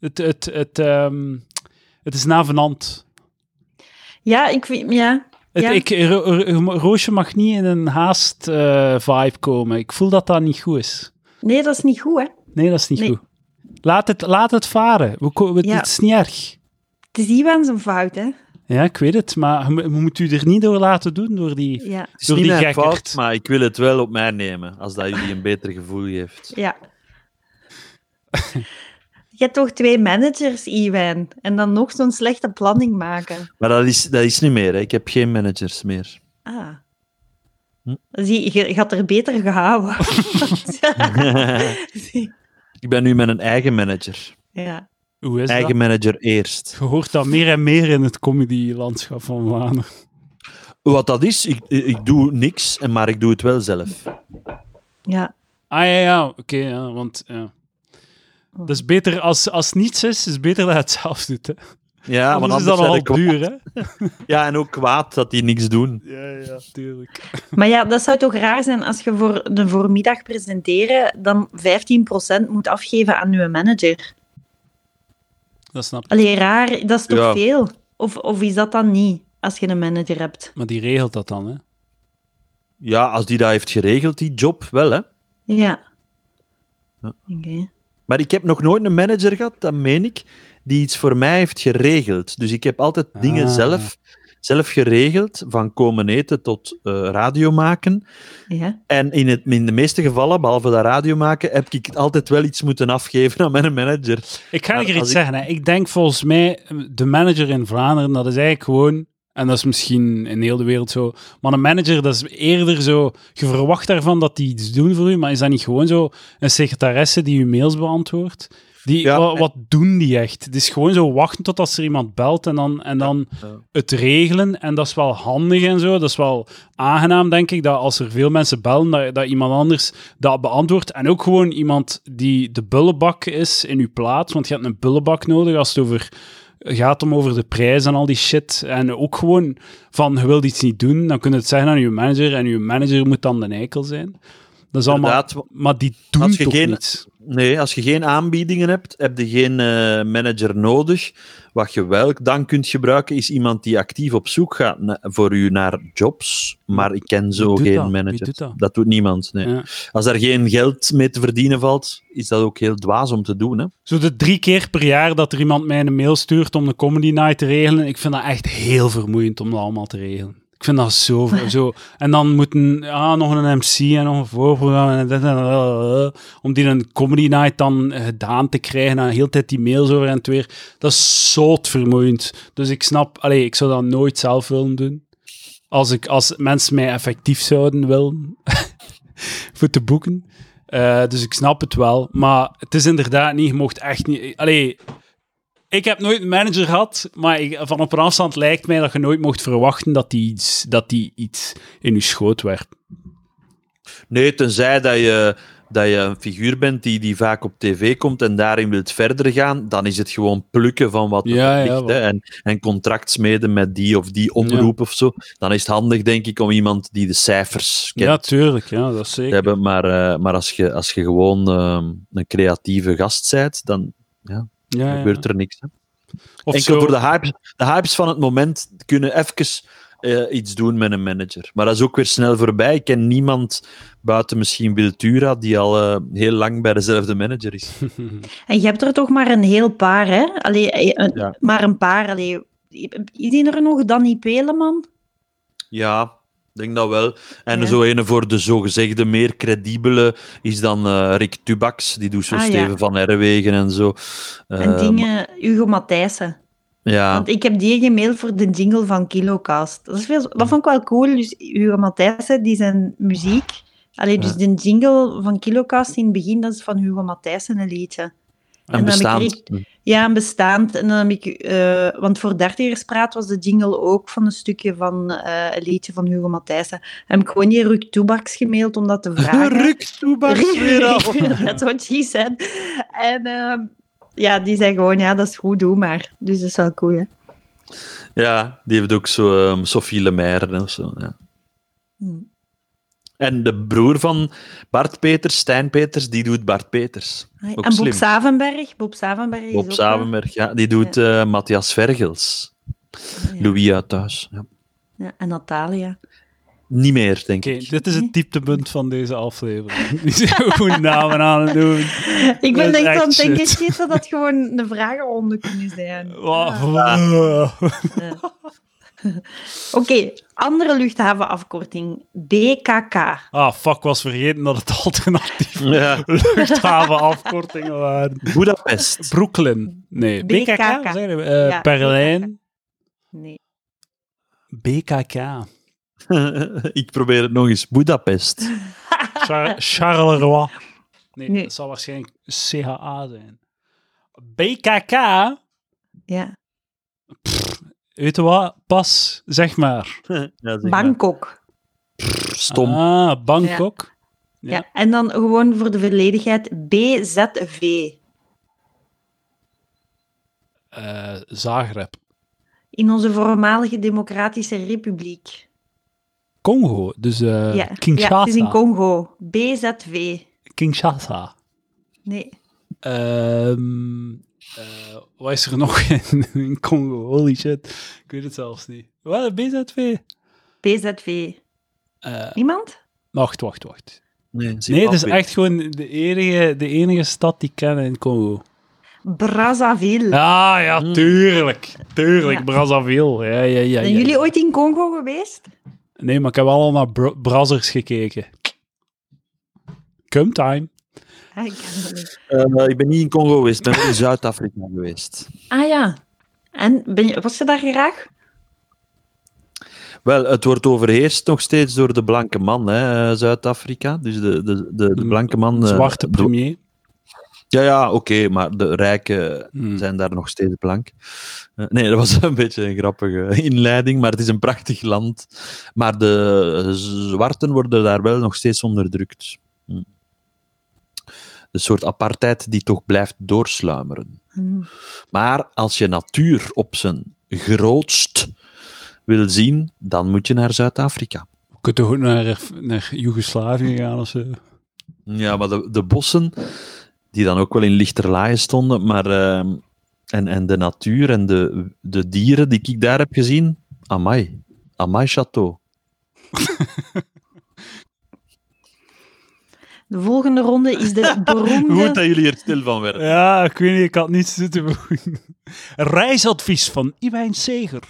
Het, het, het, ehm, het is navenant.
Ja, ik vind... Ja.
Het,
Ja.
ik, Ro- Ro- Roosje mag niet in een haast-vibe komen. Ik voel dat dat niet goed is.
Nee, dat is niet goed, hè.
Nee, dat is niet
Nee.
goed. Laat het, laat het varen. We, ko- we-
Ja.
Het is niet erg.
Het is Iwan zijn fout, hè.
Ja, ik weet het, maar je, moet- je moet u er niet door laten doen door die...
Ja.
Het is
Door
niet
die
mijn
gekkerd.
fout, maar ik wil het wel op mij nemen, als dat jullie een beter gevoel geeft.
Ja. Je hebt toch twee managers, Iwan, en dan nog zo'n slechte planning maken.
Maar dat is, dat is niet meer, hè. ik heb geen managers meer.
Ah.
Hm?
Zie, je, je had er beter gehouden. Zie.
ik ben nu met een eigen manager.
ja.
Hoe is
Eigen
dat?
manager eerst.
Je hoort dat meer en meer in het comedy-landschap van Vlaanderen.
Wat dat is, ik, ik doe niks, en- maar ik doe het wel zelf.
ja.
Ah ja, ja, oké, ja, want ja.
Oh.
Dat is beter als, als niets is, is beter dat je het zelf doet. Hè.
Ja, want
Anders
anders
is
zijn
dat nogal
ik kwaad.
duur, hè?
Ja, en ook kwaad dat die niks doen.
Ja, ja, tuurlijk.
Maar ja, dat zou toch raar zijn als je voor de voormiddag presenteren dan 15% moet afgeven aan je manager.
Dat snap ik.
Allee, raar, dat is toch
Ja.
veel? Of, of is dat dan niet, als je een manager hebt?
Maar die regelt dat dan, hè?
Ja, als die dat heeft geregeld, die job, wel hè.
Ja.
Ja.
Oké.
Maar ik heb nog nooit een manager gehad, dat meen ik, die iets voor mij heeft geregeld. Dus ik heb altijd dingen
Ah.
zelf, zelf geregeld, van komen eten tot eh, radio maken.
Ja.
En in, het, in de meeste gevallen, behalve dat radio maken, heb ik altijd wel iets moeten afgeven aan mijn manager.
Ik ga
Maar
hier iets
als ik-
zeggen. Hè. Ik denk volgens mij, ehm, de manager in Vlaanderen, dat is eigenlijk gewoon, en dat is misschien in heel de wereld zo, maar een manager, dat is eerder zo, je verwacht daarvan dat die iets doen voor u, maar is dat niet gewoon zo een secretaresse die uw mails beantwoordt? Die,
Ja,
wa- wat,
en-
doen die echt? Het is gewoon zo wachten tot als er iemand belt en dan, en dan
Ja.
het regelen. En dat is wel handig en zo. Dat is wel aangenaam, denk ik, dat als er veel mensen bellen, dat, dat iemand anders dat beantwoordt. En ook gewoon iemand die de bullenbak is in uw plaats. Want je hebt een bullenbak nodig als het over gaat om over de prijs en al die shit. En ook gewoon van, je wilt iets niet doen, dan kun je het zeggen aan je manager. En je manager moet dan de eikel zijn. Dat is allemaal...
Inderdaad,
Maar die doen
Als je
toch
geen-
niets.
Nee, als je geen aanbiedingen hebt, heb je geen eh, manager nodig. Wat je wel dan kunt gebruiken, is iemand die actief op zoek gaat na- voor u naar jobs. Maar ik ken zo
Wie doet
geen
dat? Wie
manager.
doet dat?
doet niemand. Nee.
Ja.
Als daar geen geld mee te verdienen valt, is dat ook heel dwaas om te doen. Hè?
Zo de drie keer per jaar dat er iemand mij een mail stuurt om de comedy night te regelen. Ik vind dat echt heel vermoeiend om dat allemaal te regelen. Ik vind dat zo... ver- zo. En dan moeten... Ah, nog een MC en nog een voorprogramma en dit en dat. eh, Om die een comedy night dan eh, gedaan te krijgen. En dan heel de tijd die mails over en het weer. Dat is zot vermoeiend. Dus ik snap... Allee, ik zou dat nooit zelf willen doen. Als, ik, als mensen mij effectief zouden willen. voor te boeken. Eh, dus ik snap het wel. Maar het is inderdaad niet, je mocht echt niet. Allee, ik heb nooit een manager gehad, maar ik- van op een afstand lijkt mij dat je nooit mocht verwachten dat die iets, dat die iets in je schoot werpt.
Nee, tenzij dat je, dat je een figuur bent die, die vaak op tv komt en daarin wilt verder gaan, dan is het gewoon plukken van wat er
Ja, ja,
ligt. hè,
wel.
en, en contract smeden met die of die omroep of zo. Dan is het handig, denk ik, om iemand die de cijfers kent
Ja, tuurlijk, ja, dat is
te
zeker.
hebben. Maar, eh, maar als, je, als je gewoon ehm, een creatieve gast bent, dan
Ja, ja.
gebeurt er niks. Hè.
Of
Enkel
zo-
voor de hypes, de hypes van het moment kunnen even eh, iets doen met een manager. Maar dat is ook weer snel voorbij. Ik ken niemand buiten misschien Wiltura die al eh, heel lang bij dezelfde manager is.
En je hebt er toch maar een heel paar, hè? Allee, eh, een-
Ja.
Maar een paar, allee. Zijn er nog Danny Peleman?
Ja, ik denk dat wel. En
Ja.
zo ene voor de zogezegde meer credibele is dan eh, Rick Tubax. Die doet zo
Ah, ja.
Steven van Herwegen en zo.
en
Eh,
dingen, Hugo Matthijssen.
Ja,
Want ik heb die gemaild voor de jingle van Kilocast. Dat, is veel, dat vond ik wel cool. Dus Hugo Matthijssen, die zijn muziek... Allee, dus de jingle van Kilocast in het begin, dat is van Hugo Matthijssen een liedje.
en
dan heb ik
bestaand.
Ja, een bestaand. En dan heb ik, eh, want voor dertigerspraat was de jingle ook van een stukje van eh, een liedje van Hugo Matthijssen. Heb ik gewoon die Ruk Toebaks gemaild om dat te vragen.
Rick Tubax weer al.
Dat wat she said. En ehm, ja, die zei gewoon, ja, dat is goed, doe maar. Dus dat is wel cool, hè.
Ja, die heeft ook zo ehm, Sophie Lemaire en zo. Ja.
Hm.
En de broer van Bart Peters, Stijn Peters, die doet Bart Peters.
Hey,
Ook
en Bob
slim.
Savenberg. Bob Savenberg is
Bob
ook,
Savenberg, ja, die doet eh, Matthias Vergels.
eh, ja.
Louis uit thuis. Ja.
Ja, en Natalia.
Niet meer, denk
Oké,
ik.
dit is het dieptepunt van deze aflevering. Die zijn gewoon namen aan het doen.
Ik
Dat
ben
is
echt
echt
aan het denken,
shit.
shit, dat dat gewoon een vragenronde kunnen zijn.
Wauw.
Ja. Oké, andere luchthavenafkorting. BKK.
Ah, fuck, was vergeten dat het alternatief
Ja.
luchthavenafkortingen waren.
Budapest.
Brooklyn. Nee,
BKK.
BKK. wat zeggen we? Eh,
Ja,
Berlijn.
Nee.
BKK.
ik probeer het nog eens. Budapest.
Char- Charleroi. Nee,
Nee.
dat zal waarschijnlijk CHA zijn. BKK,
Ja.
weet je wat? Pas, zeg maar.
ja, zeg maar.
Bangkok.
Stom.
Ah, Bangkok.
Ja.
Ja.
En dan gewoon voor de volledigheid BZV.
Eh, Zagreb.
In onze voormalige Democratische Republiek.
Congo, dus eh,
ja.
Kinshasa.
ja, het is in Congo. BZV.
Kinshasa.
Nee.
Ehm, Eh, wat is er nog in, in Congo? Holy shit. Ik weet het zelfs niet. Wat, BZV?
PZV.
Eh
Niemand?
wacht, wacht, wacht.
Nee,
Nee, het is echt gewoon de enige, de enige stad die ik ken in Congo.
Brazzaville.
Ah, ja,
Hmm.
tuurlijk. Tuurlijk,
Ja.
Brazzaville. Ja, ja, ja,
Zijn
ja.
jullie ooit in Congo geweest?
Nee, maar ik heb wel al naar br- Brazzers gekeken. Come time.
Ah, ik ken dat niet.
Eh, ik ben niet in Congo geweest, ik ben wel in Zuid-Afrika geweest.
Ah ja. En ben je, was je daar graag?
Wel, het wordt overheerst nog steeds door de blanke man, hè, eh, Zuid-Afrika. Dus de, de, de, de blanke man... eh,
Zwarte
de-
premier.
Ja, ja, oké, maar de rijken
Hmm.
zijn daar nog steeds blank. Eh, nee, dat was een beetje een grappige inleiding, maar het is een prachtig land. Maar de zwarten worden daar wel nog steeds onderdrukt. Hm. Een soort apartheid die toch blijft doorsluimeren.
Hm.
Maar als je natuur op zijn grootst wil zien, dan moet je naar Zuid-Afrika.
Je kunt toch ook naar, naar Joegoslavië gaan of zo.
Ja, maar de, de bossen, die dan ook wel in lichterlaaien stonden, maar ehm, en, en de natuur en de, de dieren die ik daar heb gezien, amai, amai château.
De volgende ronde is de
Goed
beroemde...
dat jullie er stil van werden.
Ja, ik weet niet, ik had niets te doen. Reisadvies van Iwijn Seger.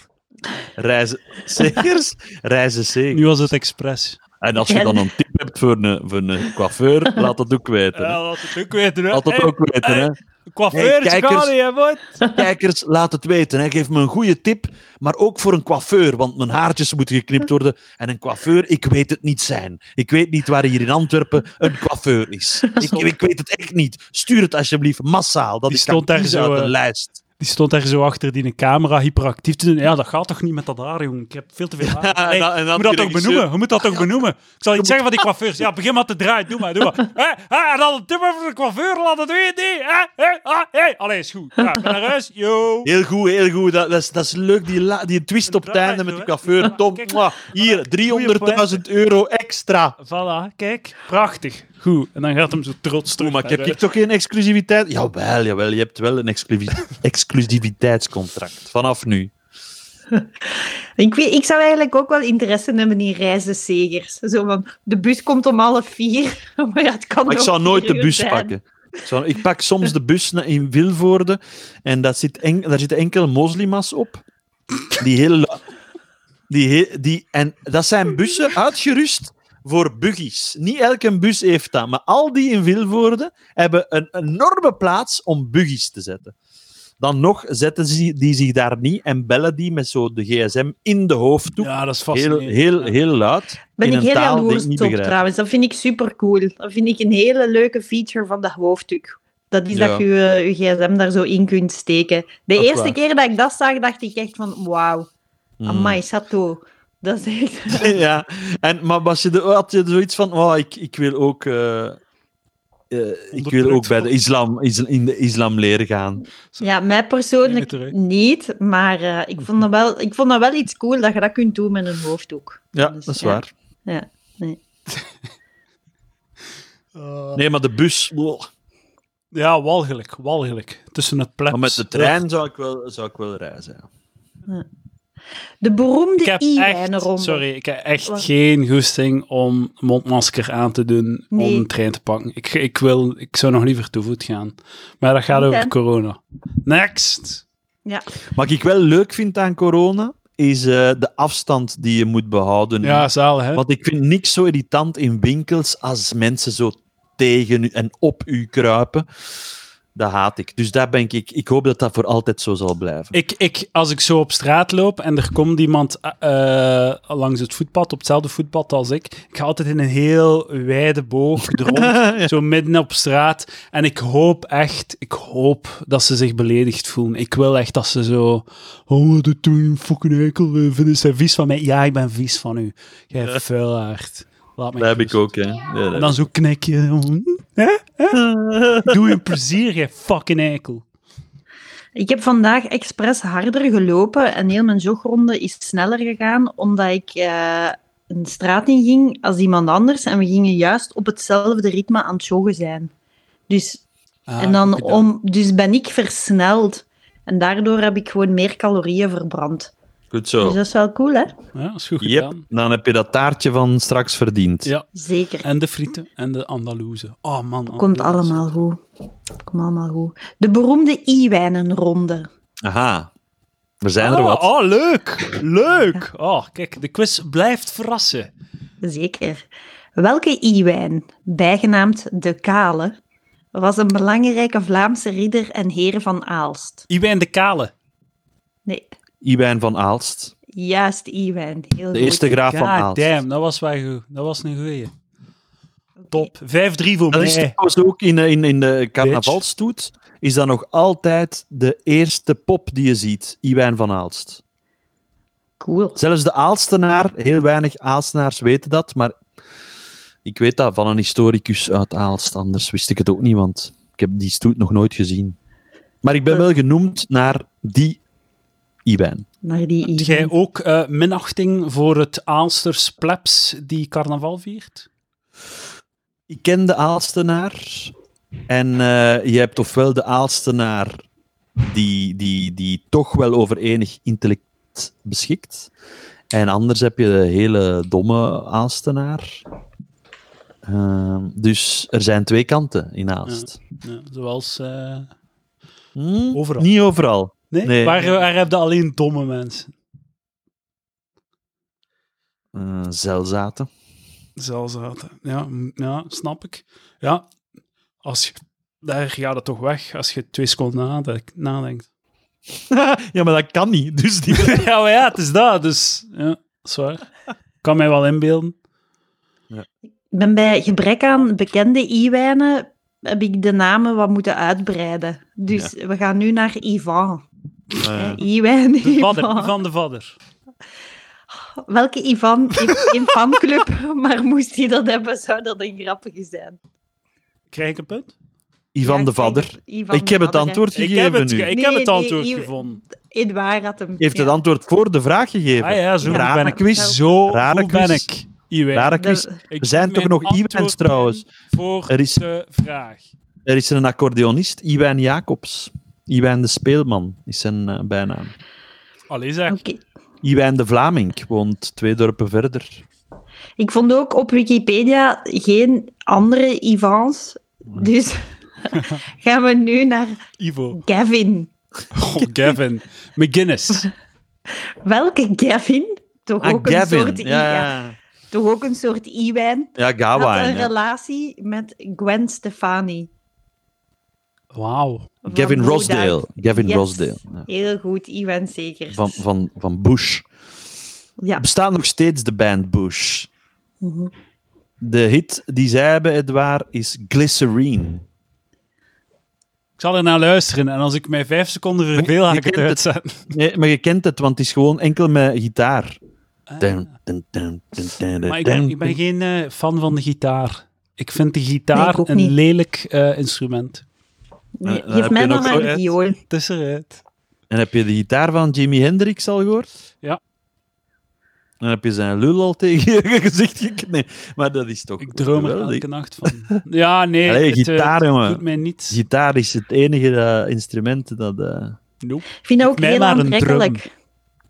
Reizen, zekers? Reizen zeker.
Nu was het expres.
En als je dan een tip hebt voor een, voor een coiffeur, laat dat ook weten. hè.
dat het ook weten. hè.
Laat dat
Hey,
ook weten, hè.
coiffeurs,
Hey, kijkers.
Charlie, hè, boy.
kijkers, laat het weten. Hè. Geef me een goede tip, maar ook voor een coiffeur, want mijn haartjes moeten geknipt worden. En een coiffeur, ik weet het niet zijn. Ik weet niet waar hier in Antwerpen een coiffeur is. Ik, ik weet het echt niet. Stuur het alsjeblieft massaal, dat
Die
is
stond daar zo,
uit
eh,
de lijst.
Die stond daar zo achter die een camera hyperactief te doen. Ja, dat gaat toch niet met dat haar, jongen. Ik heb veel te veel haar.
en
Nee,
dan- en dan
je moet
die
dat toch
regisseur.
benoemen? Je moet dat toch benoemen? Ik zal iets zeggen van die coiffeurs. Ja, begin maar te draaien. Doe maar, doe maar. Hé, hé, en dan een tip voor de coiffeur. Laat het weten. Hé, hé, ah, hé. Allee, is goed. Ja, ik ben naar huis. Yo.
Heel goed, heel goed. Dat, dat, is, dat is leuk, die, la- die twist op het
draai
einde
zo,
met de
hè.
coiffeur. Tom,
Kijk. Ah,
mwah, hier, 300.000 euro extra.
Voilà, kijk. Prachtig. Goed. En dan gaat hem zo trots terug.
Oeh, maar ik heb
naar
ik toch geen exclusiviteit? Jawel, jawel, je hebt wel een exclusivi- exclusiviteitscontract. Vanaf nu.
Ik, weet, ik zou eigenlijk ook wel interesse hebben in reizenzegers. Zo van, de bus komt om half vier, maar ja, het kan
Maar ik
ook
zou nooit
vier
de
uur
bus
zijn.
pakken. Ik, zou- ik pak soms de bus na- in Wilvoorde en dat zit en, daar zitten enkele moslima's op. Die heel, la- die he- die, en dat zijn bussen uitgerust voor buggies. Niet elke bus heeft dat, maar al die in Wilvoorde hebben een enorme plaats om buggies te zetten. Dan nog zetten ze die zich daar niet en bellen die met zo de gsm in de hoofddoek.
Ja, dat is
heel,
fascinerend.
heel, heel luid.
Ben
in
ik
een
heel
taal die ik
jaloers
niet
op
begrijp.
trouwens. Dat vind ik supercool. Dat vind ik een hele leuke feature van dat hoofdstuk. Dat is
Ja.
dat je eh, je gsm daar zo in kunt steken. De
Dat is
eerste
waar.
keer dat ik dat zag, dacht ik echt van wauw,
Mm.
Mm.
amai, Sato. Dat is echt...
ja, en, maar was je de, had je zoiets van, oh, ik, ik wil ook, eh, eh, ik wil ook bij de islam, is- in de islam leren gaan.
Ja, mij persoonlijk
Beter, hè?
niet, maar eh, ik, vond dat wel, ik vond dat wel iets cool dat je dat kunt doen met een hoofddoek.
Ja,
Dus,
dat is
ja.
waar.
Ja, nee.
Nee, maar de bus, oh.
Ja, walgelijk. Walgelijk. Tussen het plebs.
maar met de trein zou ik wel, zou ik wel reizen. ja.
De
Ik
beroemde
heb echt,
i-lijnenronde.
sorry, ik heb echt
Wat?
geen goesting om mondmasker aan te doen
Nee.
om een trein te pakken. Ik, ik, wil, ik zou nog liever te voet gaan. Maar dat gaat
Oké.
over corona. Next!
Ja.
Wat ik wel leuk vind aan corona, is eh, de afstand die je moet behouden.
Ja, zaal, hè?
Want ik vind niks zo irritant in winkels als mensen zo tegen u en op u kruipen. Dat haat ik. Dus daar ben ik. Ik hoop dat dat voor altijd zo zal blijven.
Ik, ik, als ik zo op straat loop en er komt iemand eh, eh, langs het voetpad, op hetzelfde voetpad als ik, ik ga altijd in een heel wijde boog er rond, zo midden op straat. En ik hoop echt, ik hoop dat ze zich beledigd voelen. Ik wil echt dat ze zo, oh, wat doet u, fucking eikel, eh, vinden ze vies van mij? Ja, ik ben vies van u. Jij vuilaard. Laat me
Dat heb ik
rust.
ook, hè. Ja, dat
En dan zo knik je, hè? Hè? Doe je plezier, jij fucking eikel.
Ik heb vandaag expres harder gelopen en heel mijn jogronde is sneller gegaan, omdat ik eh, een straat in ging als iemand anders en we gingen juist op hetzelfde ritme aan het joggen zijn. Dus
Ah,
en dan
oké,
om, dus ben ik versneld. En daardoor heb ik gewoon meer calorieën verbrand.
Goed zo.
Oh.
Dus dat is wel cool, hè?
Ja, is goed
Yep,
gedaan.
dan heb je dat taartje van straks verdiend.
Ja.
Zeker.
En de frieten en de Andalouse. Oh man.
Komt
Andalouse.
allemaal goed. Komt allemaal goed. De beroemde i-wijnenronde.
Aha. We zijn er
Ah,
wat.
Oh, leuk. Leuk. Oh, kijk, de quiz blijft verrassen.
Zeker. Welke i-wijn, bijgenaamd de Kale, was een belangrijke Vlaamse ridder en heer van Aalst?
Iwijn de Kale.
Nee,
Iwijn van Aalst.
juist i-wijn. Heel
De
goed.
eerste graaf van
God
Aalst.
Ah, damn, dat was wel goed. Dat was een goeie. Top. 5-3 voor
Dat is
mij.
trouwens ook in, eh, in, in de carnavalstoet, is dat nog altijd de eerste pop die je ziet, Iwijn van Aalst.
Cool.
Zelfs de Aalstenaar, heel weinig Aalstenaars weten dat, maar ik weet dat van een historicus uit Aalst, anders wist ik het ook niet, want ik heb die stoet nog nooit gezien. Maar ik ben
Eh.
wel genoemd naar die Iwijn.
Naar die
Heb
i-wijn.
jij ook eh, minachting voor het Aalsters plebs die carnaval viert?
Ik ken de Aalstenaar. En eh, je hebt ofwel de Aalstenaar die, die, die toch wel over enig intellect beschikt. En anders heb je de hele domme Aalstenaar. Ehm, dus er zijn twee kanten in Aalst.
Ja, zoals... eh,
Hm?
Overal.
Niet overal.
Nee?
Nee.
Waar, waar heb je alleen domme mensen?
Eh, zelzaten.
Zelzaten. Ja, m- ja, snap ik. Ja, als je, daar gaat het toch weg als je twee seconden nadenk- nadenkt.
ja, maar dat kan niet. Dus die...
ja, maar ja, het is dat, dus... Ja, zwaar. Kan mij wel inbeelden.
Ik ben bij gebrek aan bekende i-wijnen heb ik de namen wat moeten uitbreiden. Dus we gaan nu naar Ivan.
Eh,
I-wijn,
De vadder,
Ivan.
van de vadder.
Welke Ivan heeft geen fanclub, maar moest hij dat hebben, zou dat een grappige zijn.
Krijg ik een punt?
Ivan
Ja,
de
ik denk
Vadder.
Ivan
Ik
de
heb het
Vadder, hè.
antwoord
Ik
gegeven
heb het,
nu.
ik
Nee,
heb het
nee,
antwoord
hier-
gevonden.
Edouard had hem.
Heeft het
Ja.
antwoord voor de vraag gegeven.
Ah ja, zo
Rare
goed ben ik.
quiz.
Zo
Rare
goed ben
quiz.
ik. Iwijn.
Rare quiz.
De-
Ik
Er zijn
doe
toch
mijn
nog iwens
antwoord
trouwens.
in Voor
Er is-
de vraag.
Er is een accordeonist, Iwijn Jacobs. Iwijn de Speelman is zijn eh, bijnaam.
Allee zeg.
Oké.
Iwijn de Vlaming woont twee dorpen verder.
Ik vond ook op Wikipedia geen andere Ivans. Dus gaan we nu naar
Ivo.
Gavin. Oh,
Goh, Gavin. McGuinness.
Welke Gavin? Toch
Ah,
ook een
Gavin.
soort i-
Ja,
ja,
ja.
toch ook een soort i-wijn.
ja
Had
Gawain.
een
hè.
relatie met Gwen Stefani.
Wauw.
van
Gavin
Blue
Rosdale.
Dive.
Gavin
Yes.
Rosdale. ja.
Heel goed, Iwan zeker.
Van, van, van Bush.
Ja.
Bestaat nog steeds de band Bush. De hit die zij hebben, Edouard, is Glycerine.
Ik zal er naar luisteren en als ik mij vijf seconden verveel, ga
Je
ik het
kent het.
uitzetten.
Nee, maar je kent het, want het is gewoon enkel met gitaar. Dun, dun, dun, dun, dun, dun,
Ah. Maar ik
dun,
ben, ik ben geen eh, fan van de gitaar. Ik vind de gitaar
Nee, ik ook
een
niet.
lelijk eh, instrument.
Nee,
Eh, dan
geef
heb
mij
je
dan
nog
maar
zo-
een viool.
Het is eruit.
En heb je de gitaar van Jimi Hendrix al gehoord?
Ja.
Dan heb je zijn lul al tegen je gezicht gek- Nee, maar dat is toch...
Ik droom er
geweldig.
elke nacht van. Ja, nee.
Allee,
het, eh,
gitaar,
het
jongen.
doet mij niets.
Gitaar is het enige eh, instrument dat... eh,
Nope.
Ik vind dat ook
Geef mij
heel
maar een
aantrekkelijk.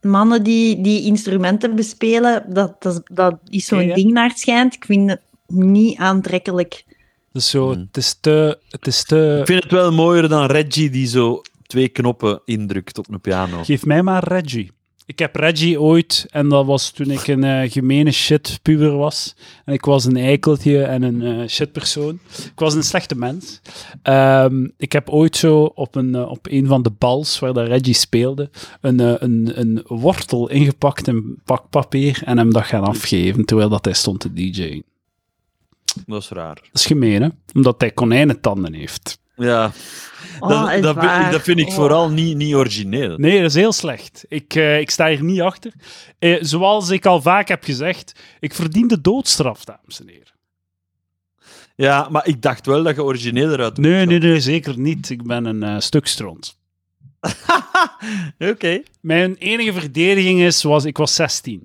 Mannen die, die instrumenten bespelen, dat, dat, is- dat is zo'n
Oké, hè?
ding naar het schijnt. Ik vind het niet aantrekkelijk.
Dus zo,
Mm.
het is te... Het is te...
Ik vind het wel mooier dan Reggie die zo twee knoppen indrukt op een piano.
Geef mij maar Reggie. Ik heb Reggie ooit, en dat was toen ik een eh, gemene shit puber was. En ik was een eikeltje en een eh shit persoon. Ik was een slechte mens. Ehm, ik heb ooit zo op een, eh, op een van de bals waar dat Reggie speelde, een, eh, een, een wortel ingepakt in pakpapier en hem dat gaan afgeven terwijl dat hij stond te DJ'en.
Dat is raar.
Dat is gemeen, hè? Omdat hij konijnentanden heeft.
Ja,
Oh,
dat,
echt
dat, vind-
waar.
dat vind ik
Oh.
vooral niet, niet origineel.
Nee, dat is heel slecht. Ik, eh, ik sta hier niet achter. Eh, zoals ik al vaak heb gezegd, ik verdien de doodstraf, dames en heren.
Ja, maar ik dacht wel dat je origineeler uit...
Nee, nee, nee, zeker niet. Ik ben een eh, stuk stront.
Oké.
Mijn enige verdediging is, was, ik was 16.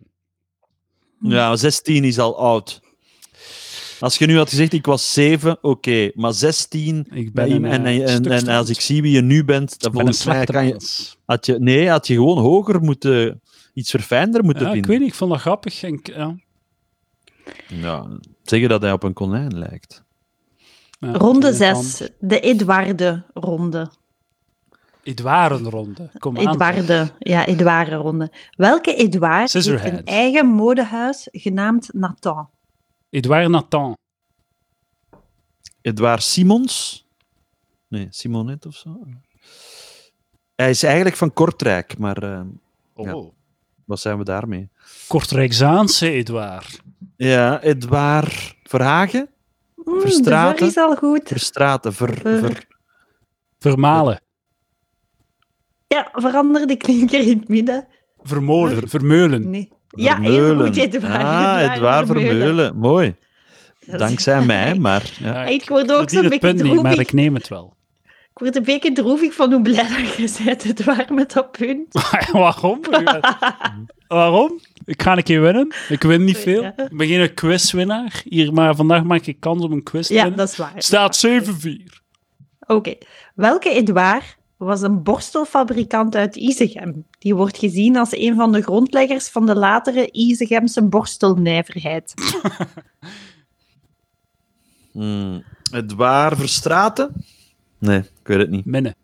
Ja, 16 is al oud. Als je nu had gezegd, ik was 7, oké, maar 16.
Ik
Bij
ben
hem,
een,
en,
eh,
en, en,
stuk
en
slecht.
als ik zie wie je nu bent, dan
Ik ben een
volgens mij
slechte
kan je,
mens.
had je... Nee, had je gewoon hoger moeten... Iets verfijnder moeten
Ja, ik
vinden.
weet niet, ik vond dat grappig. En, ik- ja.
Ja, zeggen dat hij op een konijn lijkt.
Ja,
Ronde
ik weet het
6, de Edouarde-ronde.
van. Edouard-ronde. Kom aan.
Edouarde, ja, Edouarde-ronde. Welke Edouard heeft
Scissorhands.
een eigen modehuis genaamd Nathan?
Edouard Nathan.
Edouard Simons? Nee, Simonet of zo. Hij is eigenlijk van Kortrijk, maar eh,
Oh.
wat zijn we daarmee?
Kortrijkzaanse Edouard.
Ja, Edouard Verhagen?
Mm,
Verstraten.
de zorg is al goed.
Verstraten, ver,
Eh.
Ver-
ver-
Vermalen.
Ja, verander de klinker in het midden.
Vermolen. Vermeulen.
Nee. Ja, heel
Vermeulen.
goed, Edouard.
Ah, Edouard Vermeulen. Mooi. Dankzij mij, maar... Ja.
Ja,
Ik word ook
verdien
zo'n
het
beetje
punt niet, maar
droevig.
ik neem het wel.
Ik word een beetje droevig van hoe blij dat je bent, Edouard, met dat punt.
Ah, Waarom? Waarom? Ik ga een keer winnen. Ik win niet veel.
Ja.
Ik ben geen quizwinnaar. Hier, maar vandaag maak ik kans op een quiz te
Ja,
winnen.
dat is waar.
Staat 7-4.
Oké. Welke Edouard was een borstelfabrikant uit Izegem? Die wordt gezien als een van de grondleggers van de latere Izegemse borstelnijverheid.
Hmm. Edouard Verstraten? Nee, ik weet het niet.
Minnen.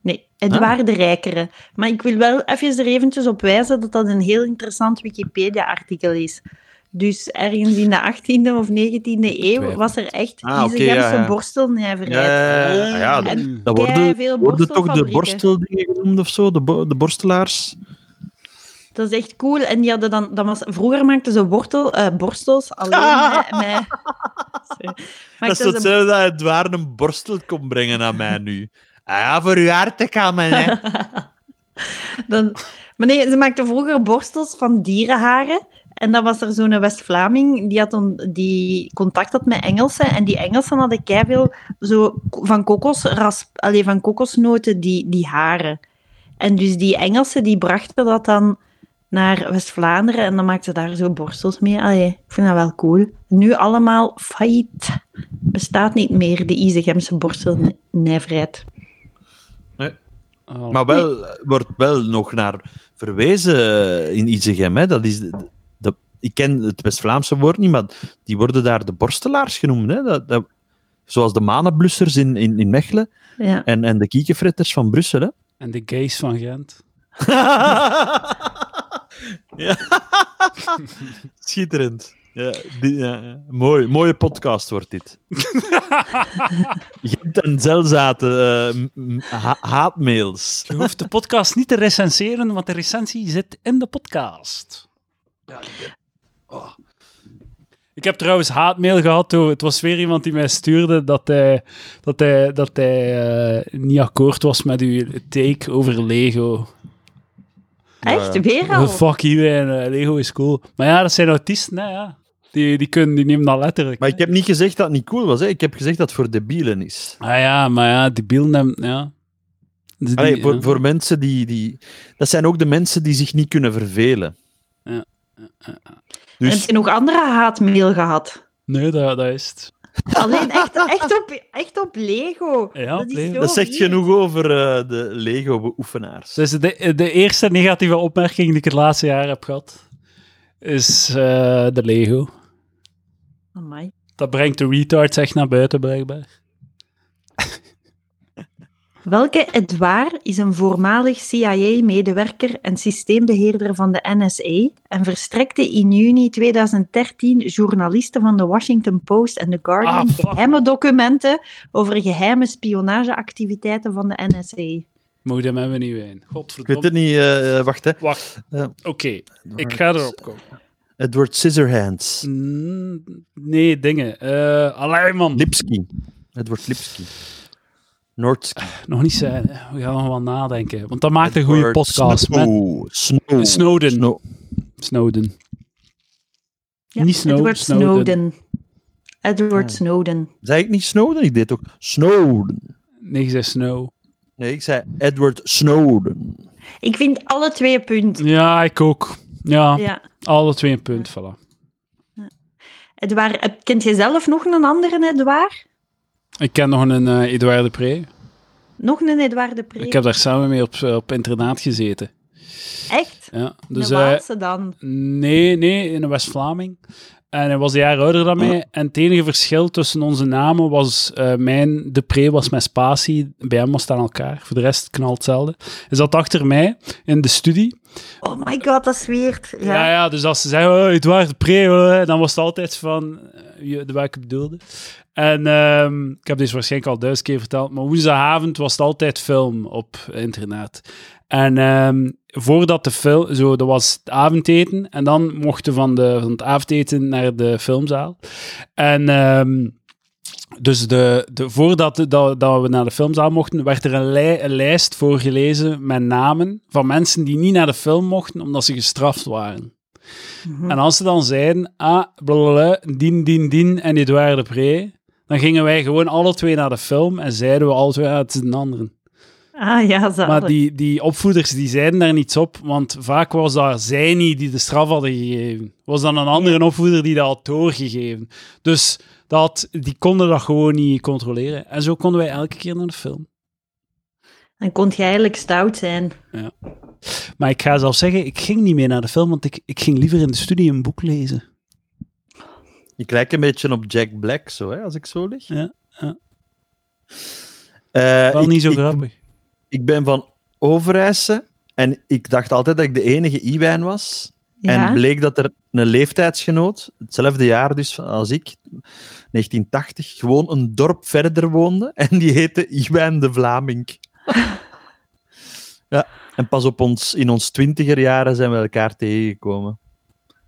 Nee, Edouard de Rijkere. Maar ik wil wel even er eventjes op wijzen dat dat een heel interessant Wikipedia-artikel is. Dus ergens in de 18e of 19e eeuw
Twijfel.
was er echt
Ah, oké,
Izegemse
ja, ja.
borstelnijverheid.
Ja, ja, Eh, ja, dat-
En
dat worden,
veel
worden toch de
borstelfabrieken.
borsteldingen genoemd of zo? De, bo- de borstelaars?
Dat is echt cool. En die hadden dan, dan was, vroeger maakten ze wortel, eh, borstels alleen met... met Sorry. Maakten ze-
dat Edouard een borstel komt brengen aan mij nu. Ah ja, voor uw haar te gaan, hè.
dan, maar nee, ze maakten vroeger borstels van dierenharen. En dan was er zo'n West-Vlaming die, had dan- die contact had met Engelsen. En die Engelsen hadden keiveel zo van, kokosras, allee, van kokosnoten die, die haren. En dus die Engelsen die brachten dat dan naar West-Vlaanderen. En dan maakten ze daar zo borstels mee. Allee, ik vind dat wel cool. Nu allemaal failliet. Bestaat niet meer de Izegemse borstelnijverheid.
Oh.
Maar wel, wordt wel nog naar verwezen eh, in Izegem. Hè. Dat is de, de- ik ken het West-Vlaamse woord niet, maar die worden daar de borstelaars genoemd. Hè. Dat, dat, zoals de manenblussers in, in, in Mechelen
Ja.
en, en de kiekefritters van Brussel. Hè.
En de gays van Gent.
ja. Schitterend. Ja, die- ja, ja. Mooi, mooie podcast wordt dit. Gent en Zelzaten, eh, m- m- ha- haatmails.
Je hoeft de podcast niet te recenseren, want de recensie zit in de podcast. Ja, ik heb- oh. Ik heb trouwens haatmail gehad. Hoor. Het was weer iemand die mij stuurde dat hij, dat hij, dat hij eh, niet akkoord was met uw take over Lego.
Echt? Weer al?
Oh, fuck you, en, eh, Lego is cool. Maar ja, dat zijn autisten, hè, ja. Die, die, kunnen, die nemen dat letterlijk.
Maar
hè.
ik heb niet gezegd dat het niet cool was. Hè. Ik heb gezegd dat het voor debielen is.
Ah ja, maar ja, die beelden hem, ja. Die- die-
Allee,
ja.
voor, voor mensen die, die... Dat zijn ook de mensen die zich niet kunnen vervelen.
Ja, ja,
En
Dus
heb je nog andere haatmail gehad?
Nee, dat, dat is het.
Alleen echt, echt, op, echt op Lego.
Ja,
dat, is
Lego.
zo
dat zegt
weird.
genoeg over eh, de Lego-beoefenaars.
Dus de, de eerste negatieve opmerking die ik het laatste jaar heb gehad, is eh, de Lego.
Amai.
Dat brengt de retards echt naar buiten, blijkbaar.
Welke Edouard is een voormalig CIA-medewerker en systeembeheerder van de NSA en verstrekte in juni 2013 journalisten van de Washington Post en The Guardian
Ah, fuck.
geheime documenten over geheime spionageactiviteiten van de NSA?
Moet hem hebben we niet wijn.
Ik weet
Godverdomme.
het niet. eh, eh, wacht, hè.
Wacht.
Ja.
Oké, ik ga Hmm. erop komen.
Edward Scissorhands.
Mm, Nee, dingen. Eh allee, man.
Lipski. Edward Lipski. Noordski.
Nog niet zijn. hè. We gaan nog wel nadenken. Want dat maakt een goede
Edward
podcast. Met
Snow. Snow.
Snowden.
Snow.
Snowden.
Ja,
Niet Snow-
Edward
Snowden. Ah.
Edward
Ja.
Snowden.
Zei ik niet Snowden? Ik deed ook Snowden.
Nee, ik zei Snow.
Nee, ik zei Edward Snowden.
Ik vind alle twee punten.
Ja, ik ook. Ja,
Ja.
alle twee een punt. Voilà.
Edouard, eh, kent jij zelf nog een andere Edouard?
Ik ken nog een eh Edouard de Pre.
Nog een Edouard de Pre?
Ik heb daar samen mee op, eh, op internaat gezeten.
Echt?
Ja. Dus,
de
eh,
Waalse dan?
Nee, nee, in een West-Vlaming. En hij was een jaar ouder dan mij. En het enige verschil tussen onze namen was... eh, mijn De Pre was mijn spatie. Bij hem was het aan elkaar. Voor de rest knal hetzelfde. Hij zat achter mij in de studie.
Oh my god, dat is weird. Ja.
Ja, ja, dus als ze zeggen... Oh, Edouard De Pre, eh, dan was het altijd van... eh, wie- de welke bedoelde. En ehm, ik heb deze waarschijnlijk al duizend keer verteld. Maar woensdagavond was het altijd film op internaat. En ehm, voordat de film, zo, dat was het avondeten. En dan mochten we van, de, van het avondeten naar de filmzaal. En ehm, dus de, de, voordat de- dat, dat we naar de filmzaal mochten, werd er een, lij- een lijst voorgelezen met namen van mensen die niet naar de film mochten omdat ze gestraft waren.
Mhm.
En als ze dan zeiden, ah, blablabla, dien, dien, dien en Edouard de Pre, dan gingen wij gewoon alle twee naar de film en zeiden we alle twee, ah, het is een andere.
Ah ja, zalig.
Maar die, die opvoeders die zeiden daar niets op, want vaak was dat zij niet die de straf hadden gegeven. Was dan een andere opvoeder die dat had doorgegeven. Dus dat, die konden dat gewoon niet controleren. En zo konden wij elke keer naar de film.
Dan kon je eigenlijk stout zijn.
Maar ik ga zelf zeggen, ik ging niet meer naar de film, want ik, ik ging liever in de studie een boek lezen.
Ik lijk een beetje op Jack Black, zo, hè, als ik zo lig.
Ja, ja.
Eh,
Wel
ik-
niet zo
ik-
grappig.
Ik ben van Overijse en ik dacht altijd dat ik de enige Iwijn was.
Ja.
En bleek dat er een leeftijdsgenoot, hetzelfde jaar dus als ik, 1980, gewoon een dorp verder woonde. En die heette Iwijn de Vlaming. ja, en pas op ons, in ons twintigerjaren zijn we elkaar tegengekomen.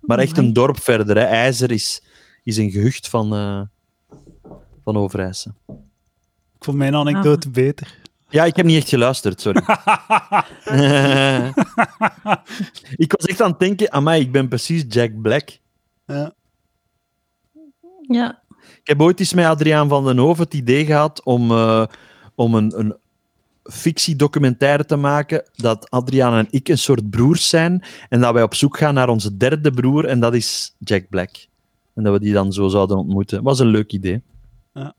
Maar echt een dorp verder. Hè. IJzer is, is een gehucht van, eh van Overijse.
Ik vond mijn anekdote beter.
Ja, ik heb niet echt geluisterd, sorry. ik was echt aan het denken, amai, ik ben precies Jack Black.
Ja.
Ik heb ooit eens met Adriaan van den Hoven het idee gehad om, eh, om een, een fictiedocumentaire te maken dat Adriaan en ik een soort broers zijn en dat wij op zoek gaan naar onze derde broer en dat is Jack Black. En dat we die dan zo zouden ontmoeten. Was een leuk idee.
Ja.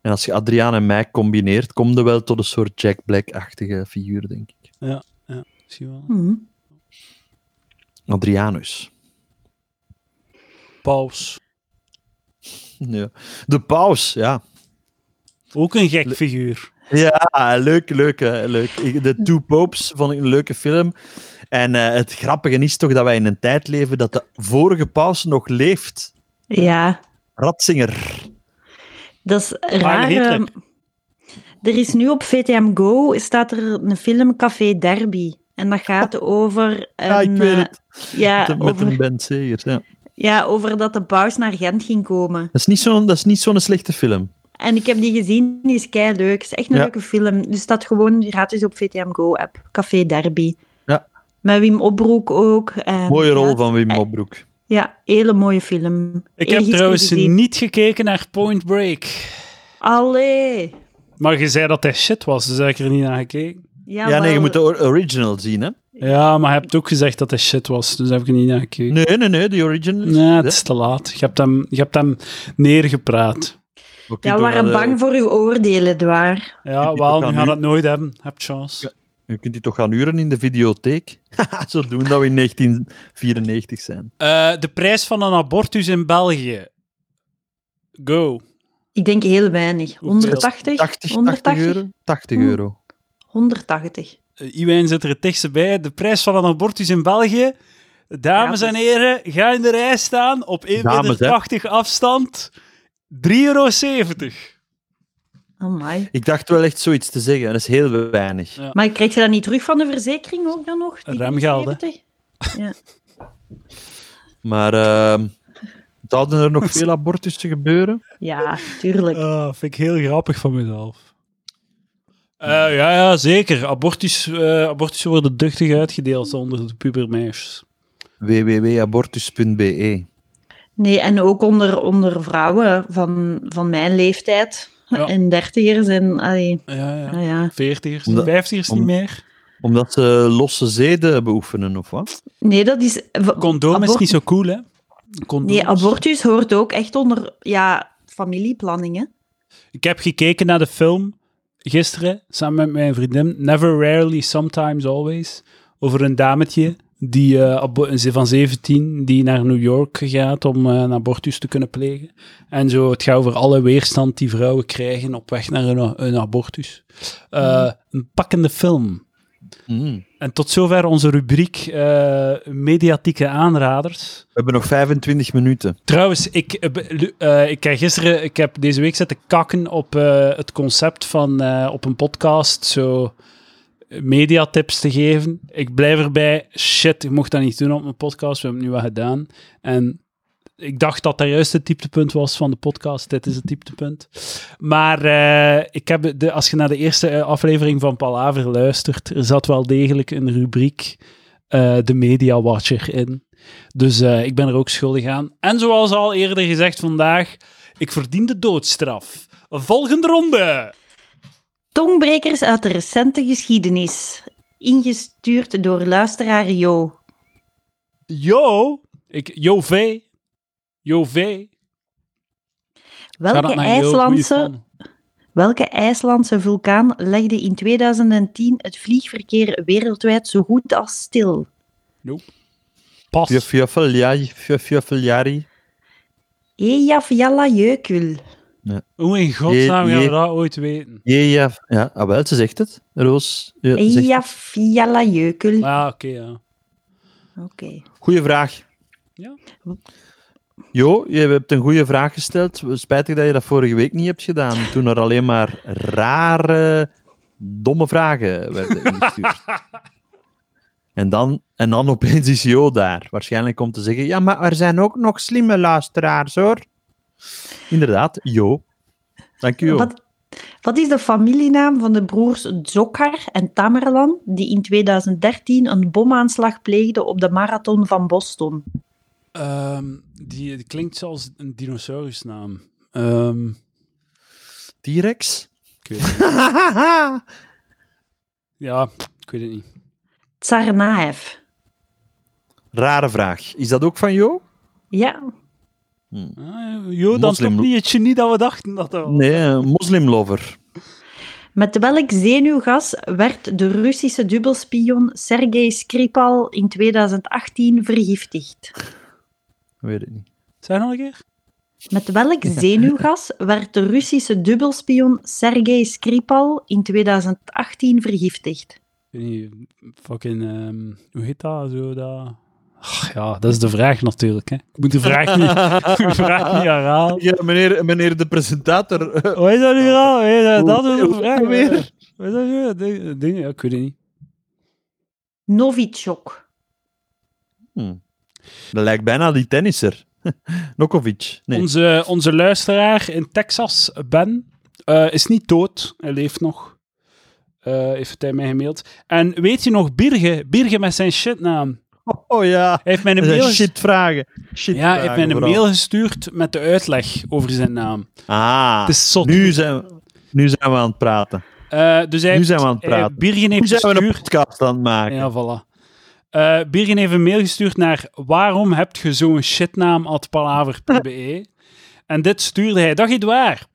En als je Adriaan en mij combineert, kom je wel tot een soort Jack Black-achtige figuur, denk ik.
Zie je wel.
Mhm.
Adrianus.
Paus.
Ja. De paus, ja.
Ook een gek figuur.
Ja, leuk, leuk, hè, leuk. Ik- De Two Popes vond ik een leuke film. En eh, het grappige is toch dat wij in een tijd leven dat de vorige paus nog leeft.
Ja,
Ratzinger.
dat is
Maar
raar.
Hitler.
ehm, Er is nu op VTM Go staat er een film Café Derby. En dat gaat over. Een,
Ah,
Ja, ik weet
eh,
het.
ja,
Met een- met
over,
een band, zeker. Ja.
ja, over dat de paus naar Gent ging komen.
Dat is niet zo'n dat is niet zo'n slechte film.
En ik heb die gezien, die is kei leuk. is echt een
Ja.
leuke film. Dus staat gewoon gratis op VTM Go app. Café Derby.
Ja.
Met Wim Opbroek ook. en-
Mooie
ja,
rol van Wim Opbroek.
Ja, hele mooie film.
Ik
Heel
heb
gisteren
trouwens
gezien.
niet gekeken naar Point Break.
Allee.
Maar je zei dat hij shit was, dus heb ik er niet naar gekeken.
Ja,
Ja, nee, je
wel.
moet de or- original zien, hè?
Ja, maar je hebt ook gezegd dat hij shit was, dus heb ik er niet naar gekeken.
Nee, nee, nee, de original.
Nee, het is te laat. Je hebt hem, je hebt hem neergepraat.
Ja, we
eh,
waren bang voor uw oordelen, Edouard.
Ja,
die
wel,
ook
we
aan
gaan
u?
het nooit hebben. Heb chance.
Je kunt die toch gaan huren in de videotheek? Haha, zo doen dat we in 1994 zijn.
Eh, de prijs van een abortus in België. Go.
Ik denk heel weinig.
Hoeveel?
180?
80, 80
180?
euro? 80
Oeh.
euro.
180.
Eh, Iwijn zit er het dichtste bij. De prijs van een abortus in België. Dames
Ja,
en heren, ga in de rij staan op 1,80
Dames, hè.
meter afstand. 3,70 euro.
Oh my.
Ik dacht wel echt zoiets te zeggen. Dat is heel weinig.
Ja.
Maar krijg je dat niet terug van de verzekering ook dan nog? die
Remgeld, hè?
70?
Maar ehm zouden er nog veel abortussen gebeuren?
Ja, tuurlijk.
Ah, vind ik heel grappig van mezelf. Eh, ja, ja, zeker. Abortus, eh, abortussen worden duchtig uitgedeeld onder de pubermeisjes.
www.abortus.be
Nee, en ook onder, onder vrouwen van, van mijn leeftijd.
Ja.
En dertigers en... Allee,
Ja, ja.
nou ja.
Veertigers,
Omdat-
vijftigers
om-
niet meer.
Omdat ze losse zeden beoefenen, of wat?
Nee, dat is...
Condoom is
abort-
niet zo cool, hè?
Nee, abortus hoort ook echt onder ja, familieplanning. Hè?
Ik heb gekeken naar de film gisteren, samen met mijn vriendin. Never, rarely, sometimes, always. Over een dametje die, eh, abo- ze van 17 die naar New York gaat om eh, een abortus te kunnen plegen. En zo, het gaat over alle weerstand die vrouwen krijgen op weg naar een, a- een abortus. Eh, Een pakkende film.
Mm.
En tot zover onze rubriek eh, mediatieke aanraders.
We hebben nog 25 minuten.
Trouwens, ik, eh, be- lu- eh, ik, heb gisteren, ik heb deze week zitten kakken op eh, het concept van eh, op een podcast zo mediatips te geven. Ik blijf erbij, shit, ik mocht dat niet doen op mijn podcast, we hebben het nu wel gedaan. En ik dacht dat dat juist het dieptepunt was van de podcast, dit is het dieptepunt. Maar eh, ik heb de, als je naar de eerste eh, aflevering van Palaver luistert, er zat wel degelijk een rubriek eh, de Media Watcher in. Dus eh, ik ben er ook schuldig aan. En zoals al eerder gezegd vandaag, ik verdien de doodstraf. Volgende ronde.
Tongbrekers uit de recente geschiedenis. Ingestuurd door luisteraar Jo.
Yo. Ik, yo V. Yo V. Gaat
Welke
dat naar yo, goeie
IJslandse,
fan?
welke IJslandse vulkaan legde in 2010 het vliegverkeer wereldwijd zo goed als stil?
Pas.
Fjofjofjari. Fjofjofjari.
Eyjafjallajökull.
Hoe in godsnaam
Je-
gaan we
je-
dat ooit weten?
Ja, ja. Ah, wel, ze zegt het. Roos. Ja, ze zegt het.
Eyjafjallajökull.
Maar ja, oké, ja.
Oké.
Goeie vraag.
Ja.
Jo, je hebt een goede vraag gesteld. Spijtig dat je dat vorige week niet hebt gedaan. Toen er alleen maar rare, domme vragen werden ingestuurd. en, dan, en dan opeens is Jo daar. Waarschijnlijk om te zeggen: Ja, maar er zijn ook nog slimme luisteraars hoor. Inderdaad, Jo. Dank u, Jo.
Wat, wat is de familienaam van de broers Zokhar en Tamerlan die in 2013 een bomaanslag pleegden op de marathon van Boston?
Ehm, die, die klinkt zoals een dinosaurusnaam. Ehm,
T-Rex?
ik weet het niet. Ja, ik weet het niet.
Tsarnaev.
Rare vraag. Is dat ook van Jo?
Ja,
Ah, yo, dan
Moslim-
toch niet het genie dat we dachten dat dat was.
Nee, een moslimlover.
Met welk zenuwgas werd de Russische dubbelspion Sergei Skripal in 2018 vergiftigd?
Weet het niet.
Zijn nog een keer?
Met welk zenuwgas werd de Russische dubbelspion Sergei Skripal in 2018 vergiftigd?
Ik weet niet, fucking, ehm, hoe heet dat? Zo dat... Ach, ja, dat is de vraag natuurlijk. Hè. Ik moet de vraag niet, ik moet de vraag niet herhalen.
Ja, meneer, meneer de presentator.
Hoe is dat nu al? Hoe is dat, dat is de
Hoe-
vraag.
hoe weer?
Hoe is dat nu? Ding- ding- ja, ik weet het niet.
Novichok.
Dat lijkt bijna die tennisser. Nokovic. Nee.
Onze, onze luisteraar in Texas, Ben, eh, is niet dood. Hij leeft nog. Eh, heeft het hij mij gemaild. En weet je nog Birge? Birge met zijn shitnaam.
Oh ja.
Hij heeft mij een
Dat zijn
mail gestuurd.
Shitvragen. Shit
Ja, hij heeft mij een mail gestuurd met de uitleg over zijn naam.
Ah,
Het is zot.
nu, zijn, we- nu zijn we aan het praten.
Eh, dus hij
Nu
heeft-
zijn we aan het
eh,
praten.
Birgen
Nu
heeft
zijn we een
gestuurd...
podcast aan het maken.
Ja, voilà. Eh, Birgen heeft een mail gestuurd naar waarom heb je zo'n shitnaam at palaver.be? E? en dit stuurde hij. Dag Edouard.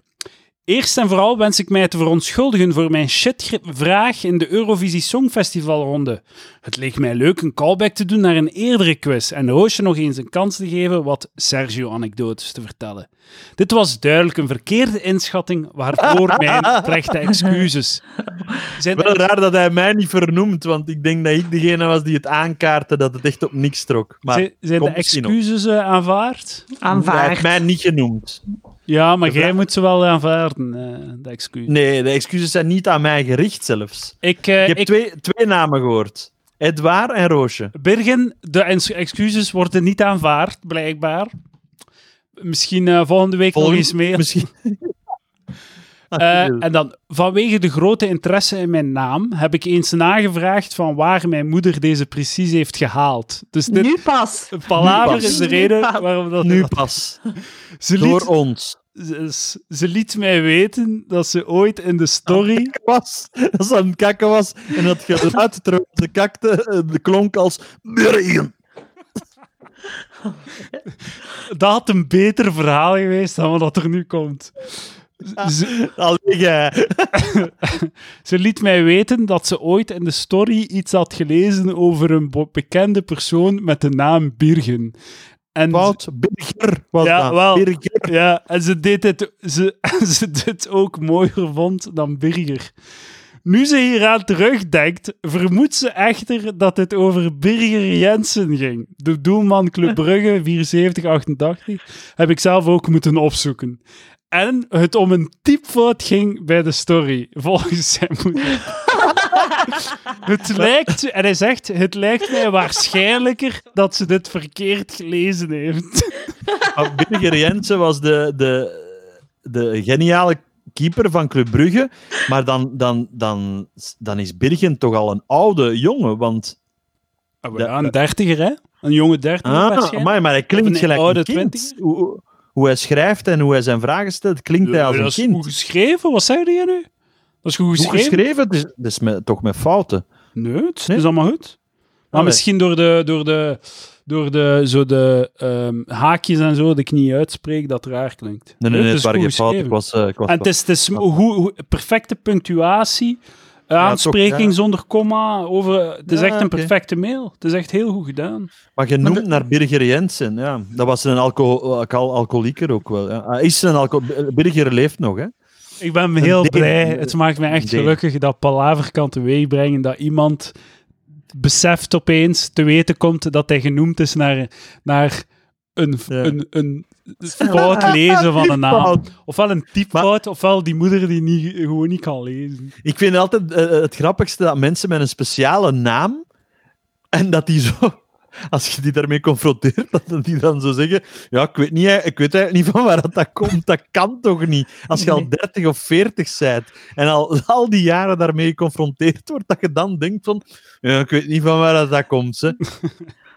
Eerst en vooral wens ik mij te verontschuldigen voor mijn shitvraag in de Eurovisie Songfestivalronde. Het leek mij leuk een callback te doen naar een eerdere quiz en Roosje nog eens een kans te geven wat Sergio-anekdotes te vertellen. Dit was duidelijk een verkeerde inschatting, waarvoor mijn oprechte excuses. Zijn
Wel raar dat hij mij niet vernoemt, want ik denk dat ik degene was die het aankaartte dat het echt op niks trok. Maar
zijn zijn de
komt misschien op.
excuses eh, aanvaard?
hij heeft
Aanvaard.
mij niet genoemd.
Ja, maar
De
jij
vraag-
moet ze wel aanvaarden, eh, de excuses.
Nee, de excuses zijn niet aan mij gericht zelfs.
Ik, eh,
Ik heb
ik-
twee, twee namen gehoord. Edouard en Roosje.
Birgen, de ens- excuses worden niet aanvaard, blijkbaar. Misschien eh, volgende week
Volgende-
nog eens meer.
Misschien.
Eh, en dan, vanwege de grote interesse in mijn naam, heb ik eens nagevraagd van waar mijn moeder deze precies heeft gehaald. Dus dit
Nu pas.
palaver
Nu pas.
is de
Nu
reden
pas.
waarom dat...
nu pas.
ze,
Door
liet,
ons.
ze, ze liet mij weten dat ze ooit in de story...
Was, dat ze aan het kakken was en dat geluid terwijl ze kakte eh, klonk als Birgen.
Dat had een beter verhaal geweest dan wat er nu komt. Ze,
Allee, jij.
Ze liet mij weten dat ze ooit in de story iets had gelezen over een bo- bekende persoon met de naam Birgen. En
Wout Birger was
Ja,
dat.
wel.
Birger.
Ja, en ze deed dit, ze, ze dit ook mooier vond dan Birger. Nu ze hieraan terugdenkt, vermoedt ze echter dat het over Birger Jensen ging. De doelman Club Brugge, 74-88, heb ik zelf ook moeten opzoeken. En het om een typfout ging bij de story, volgens zijn moeder. het lijkt, en hij zegt, het lijkt mij waarschijnlijker dat ze dit verkeerd gelezen heeft.
Maar Birger Jensen was de, de, de geniale keeper van Club Brugge. Maar dan, dan, dan, dan is Birgen toch al een oude jongen. Want,
Ah,
Dat-
ja, een dertiger, hè? Een jonge dertiger
ah,
waarschijnlijk.
amai, maar hij klinkt
Of een
gelijk
oude
een kind.
twintiger.
Hoe, hoe- hoe hij schrijft en hoe hij zijn vragen stelt, klinkt hij
Ja,
als
dat
een
is
kind.
goed geschreven, wat zei je nu? Dat is goed
Goed
geschreven?
geschreven, dus, dus met, toch met fouten.
Nee, het is
Nee?
allemaal goed. Maar
Allee.
misschien door de, door de, door de, zo de ehm, haakjes en zo, dat ik niet uitspreek, dat raar klinkt.
Nee, nee, nee,
het
het
is
waren geen
goed
fouten. Ik
geschreven.
was, eh, ik was
En het is, het is hoe, hoe- perfecte punctuatie, aanspreking
toch, ja.
zonder komma. Over, het is
Ja,
echt een
oké.
perfecte mail. Het is echt heel goed gedaan.
Maar genoemd naar Birger Jensen, ja. Dat was een alco alco- alcoholieker ook wel. Ja. Hij Is een alco Birger leeft nog, hè.
Ik ben
Een
heel
deel-
blij. Het maakt me echt
deel.
gelukkig dat Palaver kan teweegbrengen dat iemand beseft opeens, te weten komt dat hij genoemd is naar, naar een,
Ja.
een, een fout lezen van een naam. Ofwel een typfout, ofwel die moeder die niet, gewoon niet kan lezen.
Ik vind altijd eh, het grappigste dat mensen met een speciale naam, en dat die zo, als je die daarmee confronteert, dat die dan zo zeggen, ja, ik weet, niet, ik weet eigenlijk niet van waar dat, dat komt, dat kan toch niet? Als je al
Nee.
30 of 40 bent, en al, al die jaren daarmee geconfronteerd wordt, dat je dan denkt van, ja, ik weet niet van waar dat, dat komt, hè.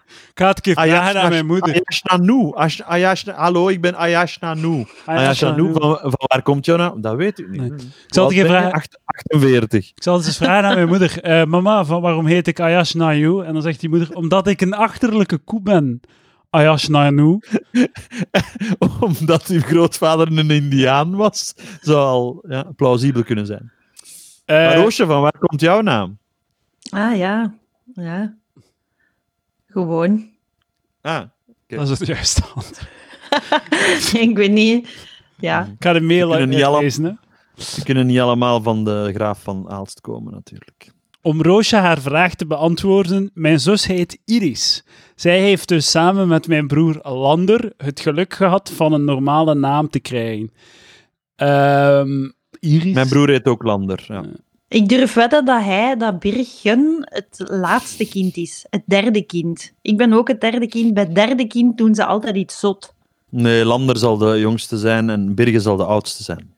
Ik ga
Ah
het een keer vragen aan mijn moeder.
Ayash Nanu. Ash- Ayash- hallo, ik ben Ayash Nanu. Ayash
Ayasha
Nanu,
Nanu.
van, van waar komt jou nou? Dat weet ik niet.
Nee.
Hoe
Ik zal het een
oud
keer
ben je?
vragen.
Acht- 48.
Ik zal het eens vragen aan mijn moeder. Eh, mama, van waarom heet ik Ayash Nayu? En dan zegt die moeder, omdat ik een achterlijke koe ben. Ayash Nayu.
Omdat uw grootvader een Indiaan was, zou al ja, plausibel kunnen zijn.
Eh,
maar Roosje, van waar komt jouw naam?
Ah ja, ja. Gewoon.
Ah,
dat is het juiste antwoord.
ik weet niet.
Mhm.
Ja,
Ik ga de mail
We kunnen niet
uitlezen. hè.
ze kunnen niet allemaal van de graaf van Aalst komen, natuurlijk.
Om Roosje haar vraag te beantwoorden, mijn zus heet Iris. Zij heeft dus samen met mijn broer Lander het geluk gehad van een normale naam te krijgen. Ehm, Iris?
Mijn broer heet ook Lander. Ja.
ik durf wedden dat hij, dat Birgen, het laatste kind is. Het derde kind. Ik ben ook het derde kind. Bij het derde kind doen ze altijd iets zot.
Nee, Lander zal de jongste zijn en Birger zal de oudste zijn.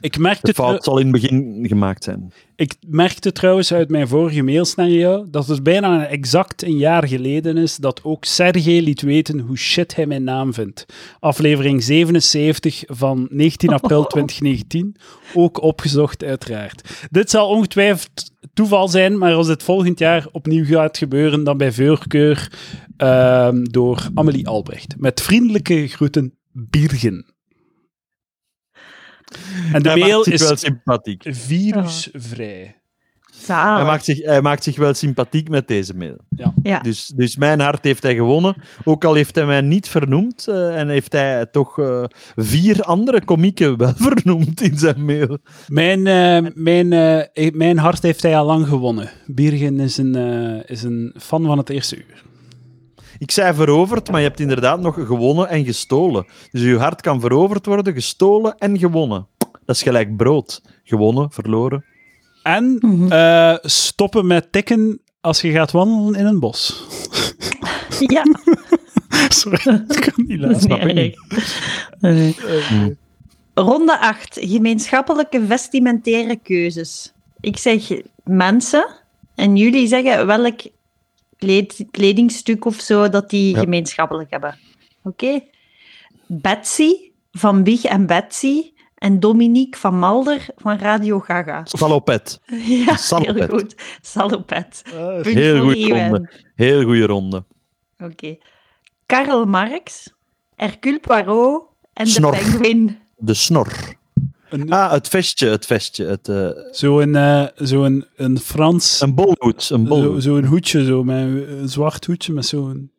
Ik merkte,
De
het,
fout zal in het begin gemaakt zijn.
ik merkte trouwens uit mijn vorige mails naar jou dat het bijna exact een jaar geleden is dat ook Sergej liet weten hoe shit hij mijn naam vindt. Aflevering 77 van 19 april 2019, ook opgezocht uiteraard. Dit zal ongetwijfeld toeval zijn, maar als dit volgend jaar opnieuw gaat gebeuren, dan bij voorkeur ehm, door Amelie Albrecht. Met vriendelijke groeten, Birgen. En de
hij
mail
maakt zich wel
is
sympathiek.
virusvrij.
Hij
Zalig.
maakt, zich, hij maakt zich wel sympathiek met deze mail.
Ah, Ja.
Dus, dus mijn hart heeft hij gewonnen. Ook al heeft hij mij niet vernoemd. eh, en heeft hij toch eh, vier andere komieken wel vernoemd in zijn mail.
Mijn, eh, mijn, eh, eh, mijn hart heeft hij al lang gewonnen. Birgen is een, eh, is een fan van het eerste uur.
Ik zei veroverd, maar je hebt inderdaad nog gewonnen en gestolen. Dus uw hart kan veroverd worden, gestolen en gewonnen. Dat is gelijk brood. Gewonnen, verloren.
En
Mhm.
eh, stoppen met tikken als je gaat wandelen in een bos.
Ja,
Sorry, ik kan niet
dat is
laten.
niet
ik niet.
erg. Nee. Ronde 8. Gemeenschappelijke vestimentaire keuzes. Ik zeg mensen en jullie zeggen welk kleed- kledingstuk of zo dat die
Ja.
gemeenschappelijk hebben. Oké. Betsy van Big en Betsy en Dominique van Malder van Radio Gaga.
Salopet.
Ja, heel
Salopet.
goed. Salopet. Punt
Eh,
Heel
voor
goede
Ewen.
ronde. Heel goede ronde.
Oké. Karl Marx, Hercule Poirot en
Snor.
de Penguin.
De snor.
Een-
Ah, het vestje, het vestje. Het, eh,
Zo'n eh, zo'n een Frans...
een bolhoed, een
zo-
bolhoed.
Zo'n hoedje, zo, met een, een zwart hoedje met zo'n...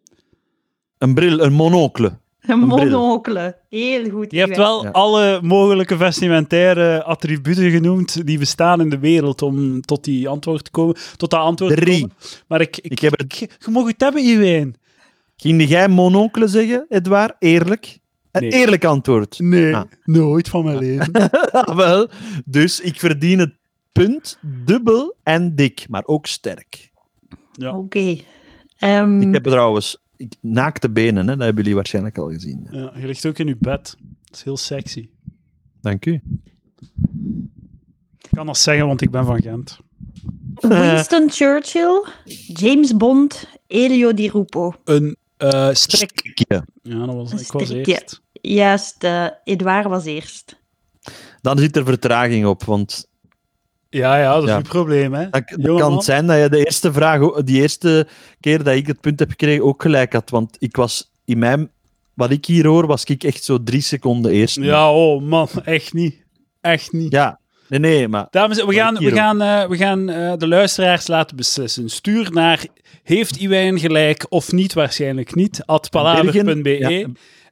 Een bril, een monocle.
Een
bril.
monocle. Heel goed.
Je hebt
Iwan.
wel
Ja.
alle mogelijke vestimentaire attributen genoemd die bestaan in de wereld om tot die antwoord te komen. Tot dat antwoord te
Drie.
komen. Maar ik... ik,
Ik heb het-
ik- je mag het hebben, Iwijn.
Ging jij monocle zeggen, Edouard? Eerlijk? Een
Nee.
eerlijk antwoord.
Nee,
Ah.
nooit van mijn leven.
Ah, wel. Dus ik verdien het punt dubbel en dik, maar ook sterk.
wel-
Oké. Ehm,
Ik heb trouwens ik, naakte benen, hè, dat hebben jullie waarschijnlijk al gezien.
Ja, je ligt ook in je bed. Dat is heel sexy.
Dank u.
Ik kan dat zeggen, want ik ben van Gent.
eh,
Winston Churchill, James Bond, Elio Di Rupo.
Een eh strik.
Strikje.
Ja, dat was,
Een
ik was
strik,
eerst.
Juist, eh Edouard was eerst.
Dan zit er vertraging op, want
Ja, ja, dat is
Ja.
uw probleem, hè.
dat, dat
Jongeman.
kan het zijn dat je de eerste vraag, ook- die eerste keer dat ik het punt heb gekregen, ook gelijk had. Want ik was in mijn, wat ik hier hoor, was ik echt zo drie seconden eerst.
Ja, oh man, echt niet. Echt niet.
Ja. Nee, nee, maar
Dames en heren, we
Maar
gaan,
hier
we
ook.
gaan, eh, we gaan eh, de luisteraars laten beslissen. Stuur naar heeft Iwijn gelijk of niet, waarschijnlijk niet, at palaver.be.
ja.
E.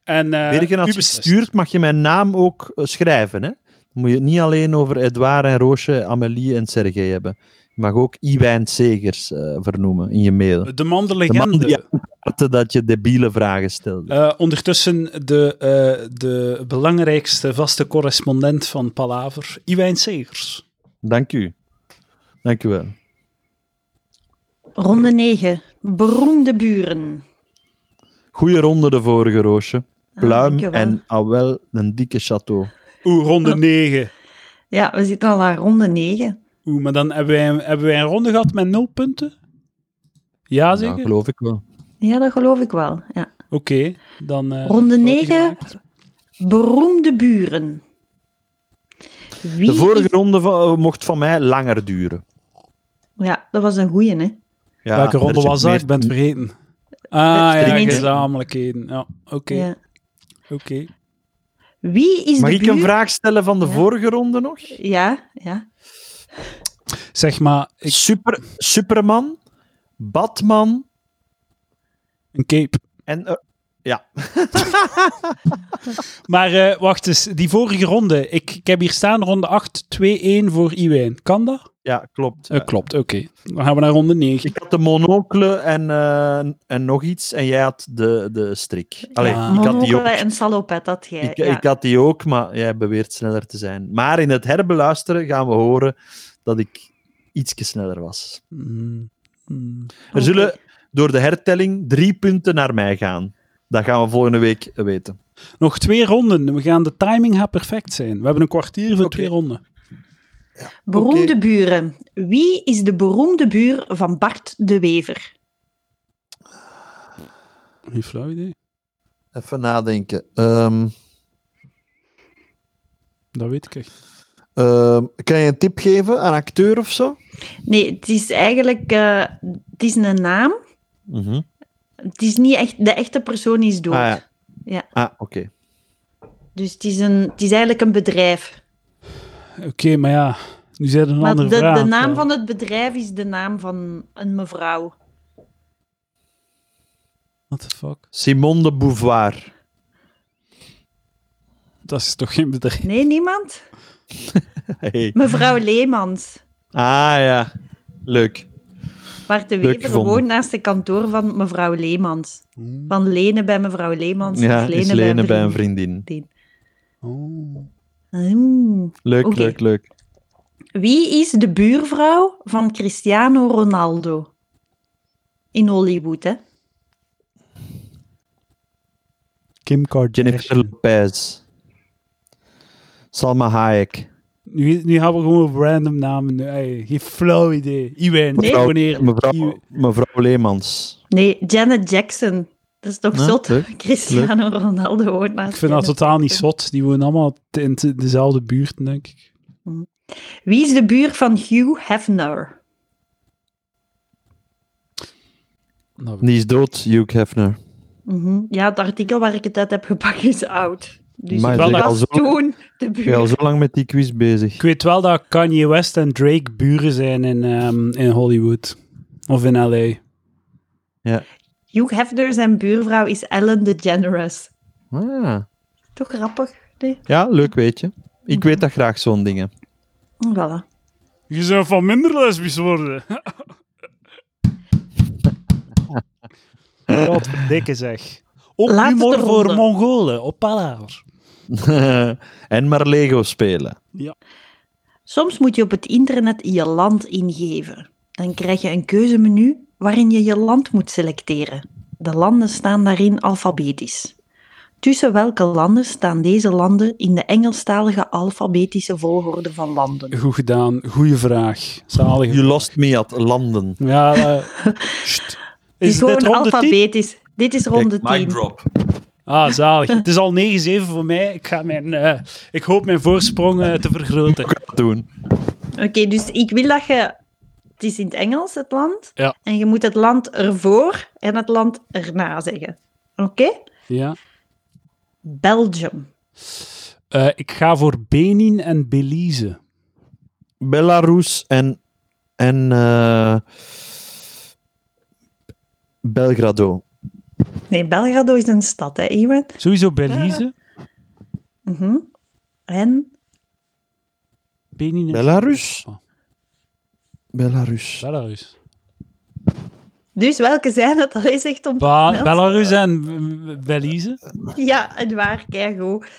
En eh,
Bergen,
u
als je
beslist.
stuurt, mag je mijn naam ook eh, schrijven. Hè? Dan moet je het niet alleen over Edouard en Roosje, Amélie en Sergej hebben. Je mag ook Iwijn Segers eh, vernoemen in je mail.
De man de
De
legende.
man die aanvaardde dat je debiele vragen stelde.
Eh, ondertussen de, eh, de belangrijkste vaste correspondent van Palaver, Iwijn Segers.
Dank u. Dank u wel.
Ronde 9. Beroemde buren.
Goeie ronde de vorige, Roosje.
Ah,
Pluim
dankjewel.
en Awel, een dikke château.
Oeh, ronde 9.
Ja, we zitten al aan ronde 9.
Oeh, maar dan hebben wij, een- hebben wij een ronde gehad met nul punten? Ja,
Ja,
zeker? Oké,
geloof ik wel.
Ja, dat geloof ik wel. Ja.
dan... eh,
Ronde
wordt die
9.
gemaakt.
Beroemde buren. Wie
De vorige
is-
ronde van- eh, mocht van mij langer duren.
Ja, dat was een goeie, hè.
Ja,
Welke
er
ronde
zit
was dat?
meer-
Ik ben het vergeten. Ah,
Met
ja,
vrienden.
gezamenlijkheden. Ja, oké.
Ja.
oké.
Wie is
Mag
de
ik een
buur-
vraag stellen van de
Ja.
vorige ronde nog?
Ja, ja.
Zeg maar, ik,
Super, Superman, Batman
een cape.
en... eh,
Maar eh, wacht eens, die vorige ronde. Ik, ik heb hier staan ronde 8, 2, 1 voor Iwijn. Kan dat?
ja, klopt.
Eh, klopt, oké. Dan gaan we naar ronde 9.
Ik had de monocle en, eh, en nog iets en jij had de, de strik. Allee,
Ja.
ik had die
Monocle
ook.
en salopet had jij.
Ik,
ja.
ik had die ook, maar jij beweert sneller te zijn. Maar in het herbeluisteren gaan we horen dat ik ietsje sneller was.
Mm, mm.
Er
Oké.
zullen door de hertelling drie punten naar mij gaan. Dat gaan we volgende week weten.
Nog twee ronden. We gaan de timing gaat perfect zijn. We hebben een kwartier voor
Oké.
twee ronden.
Beroemde buren. Wie is de beroemde buur van Bart de Wever?
Geen flauw idee.
Even nadenken. Ehm,
Dat weet ik echt.
ehm, kan je een tip geven aan acteur of zo?
Nee, het is eigenlijk... eh, het is een naam. Het is niet echt... De echte persoon is dood.
Mhm. Ah, ja.
Ja.
Ah, oké.
Dus het is, een, het is eigenlijk een bedrijf.
Oké, maar ja. Nu zijn er een
maar de,
andere vraag.
de naam
eh.
van het bedrijf is de naam van een mevrouw.
What the fuck?
Simone de Beauvoir.
Dat is toch geen bedrijf?
Nee, niemand?
Hey.
Mevrouw Leemans.
Ah ja, leuk.
Bart de
Leuk
Wever
gevonden.
woont naast het kantoor van mevrouw Leemans.
Hmm.
Van lenen bij mevrouw Leemans.
Ja,
of
is lenen bij een vriendin.
Oh.
Hmm.
Leuk,
Oké.
leuk, leuk.
Wie is de buurvrouw van Cristiano Ronaldo? In Hollywood, hè?
Kim
Jennifer
Kardashian.
Lopez. Salma Hayek.
Nu, nu gaan we gewoon random namen. doen. Ey, geen flauw idee. Iwijn,
Nee.
nee. wanneer?
Mevrouw,
Iwijn.
mevrouw Leemans.
Nee, Janet Jackson. Dat is toch
Ja,
zot?
leuk,
Cristiano Ronaldo woont naast
Ik vind dat
Janet
totaal niet
Jackson.
zot. Die wonen allemaal t- in t- dezelfde buurt, denk ik.
Wie is de buur van Hugh Hefner?
Nou,
Die is dood, Hugh Hefner.
Mhm. Ja, het artikel waar ik het uit heb gepakt is oud. Dus
Maar
ik
zeg,
was
al zo-
toen de
Ik ben al
buur.
zo lang met die quiz bezig.
Ik weet wel dat Kanye West en Drake buren zijn in, ehm, in Hollywood. Of in L.A.
Hugh Hefner zijn buurvrouw is Ellen DeGeneres.
Ah.
Toch grappig? Nee?
Ja, leuk weet je. Ik weet dat graag, zo'n dingen.
Voilà.
Je zou van minder lesbisch worden.
Wat dikke zeg. Ook
Laatste
humor voor
ronde.
Mongolen op Palaver.
en maar Lego spelen.
Soms moet je op het internet je land ingeven. Dan krijg je een keuzemenu waarin je je land moet selecteren. De landen staan daarin alfabetisch. Tussen welke landen staan deze landen in de Engelstalige alfabetische volgorde van landen?
Goed gedaan. Goeie vraag. Zalige.
You lost me at landen.
Ja, eh, sst.
Het
Is
is gewoon
dit ronde 10?
alfabetisch. Dit is ronde
Kijk, mic
10.
drop.
Ah, zalig. Het is al 9-7 voor mij. Ik, ga mijn, eh, ik hoop mijn voorsprong eh, te vergroten.
Doen.
Oké, dus ik wil dat je... Het is in het Engels, het land.
Ja.
En je moet het land ervoor en het land erna zeggen. Oké?
Ja.
Belgium.
Eh, ik ga voor Benin en Belize.
Belarus en... En... eh, Belgrado.
Nee, Belgrado is een stad, hè, Iwan?
Sowieso Belize.
Mhm. En
Benin en
Belarus?
Oh,
Belarus.
Belarus.
dus welke zijn het? Dat is echt om...
Ba-
Wel?
Belarus en eh, Belize.
Ja, het waar, keigoed.
Maar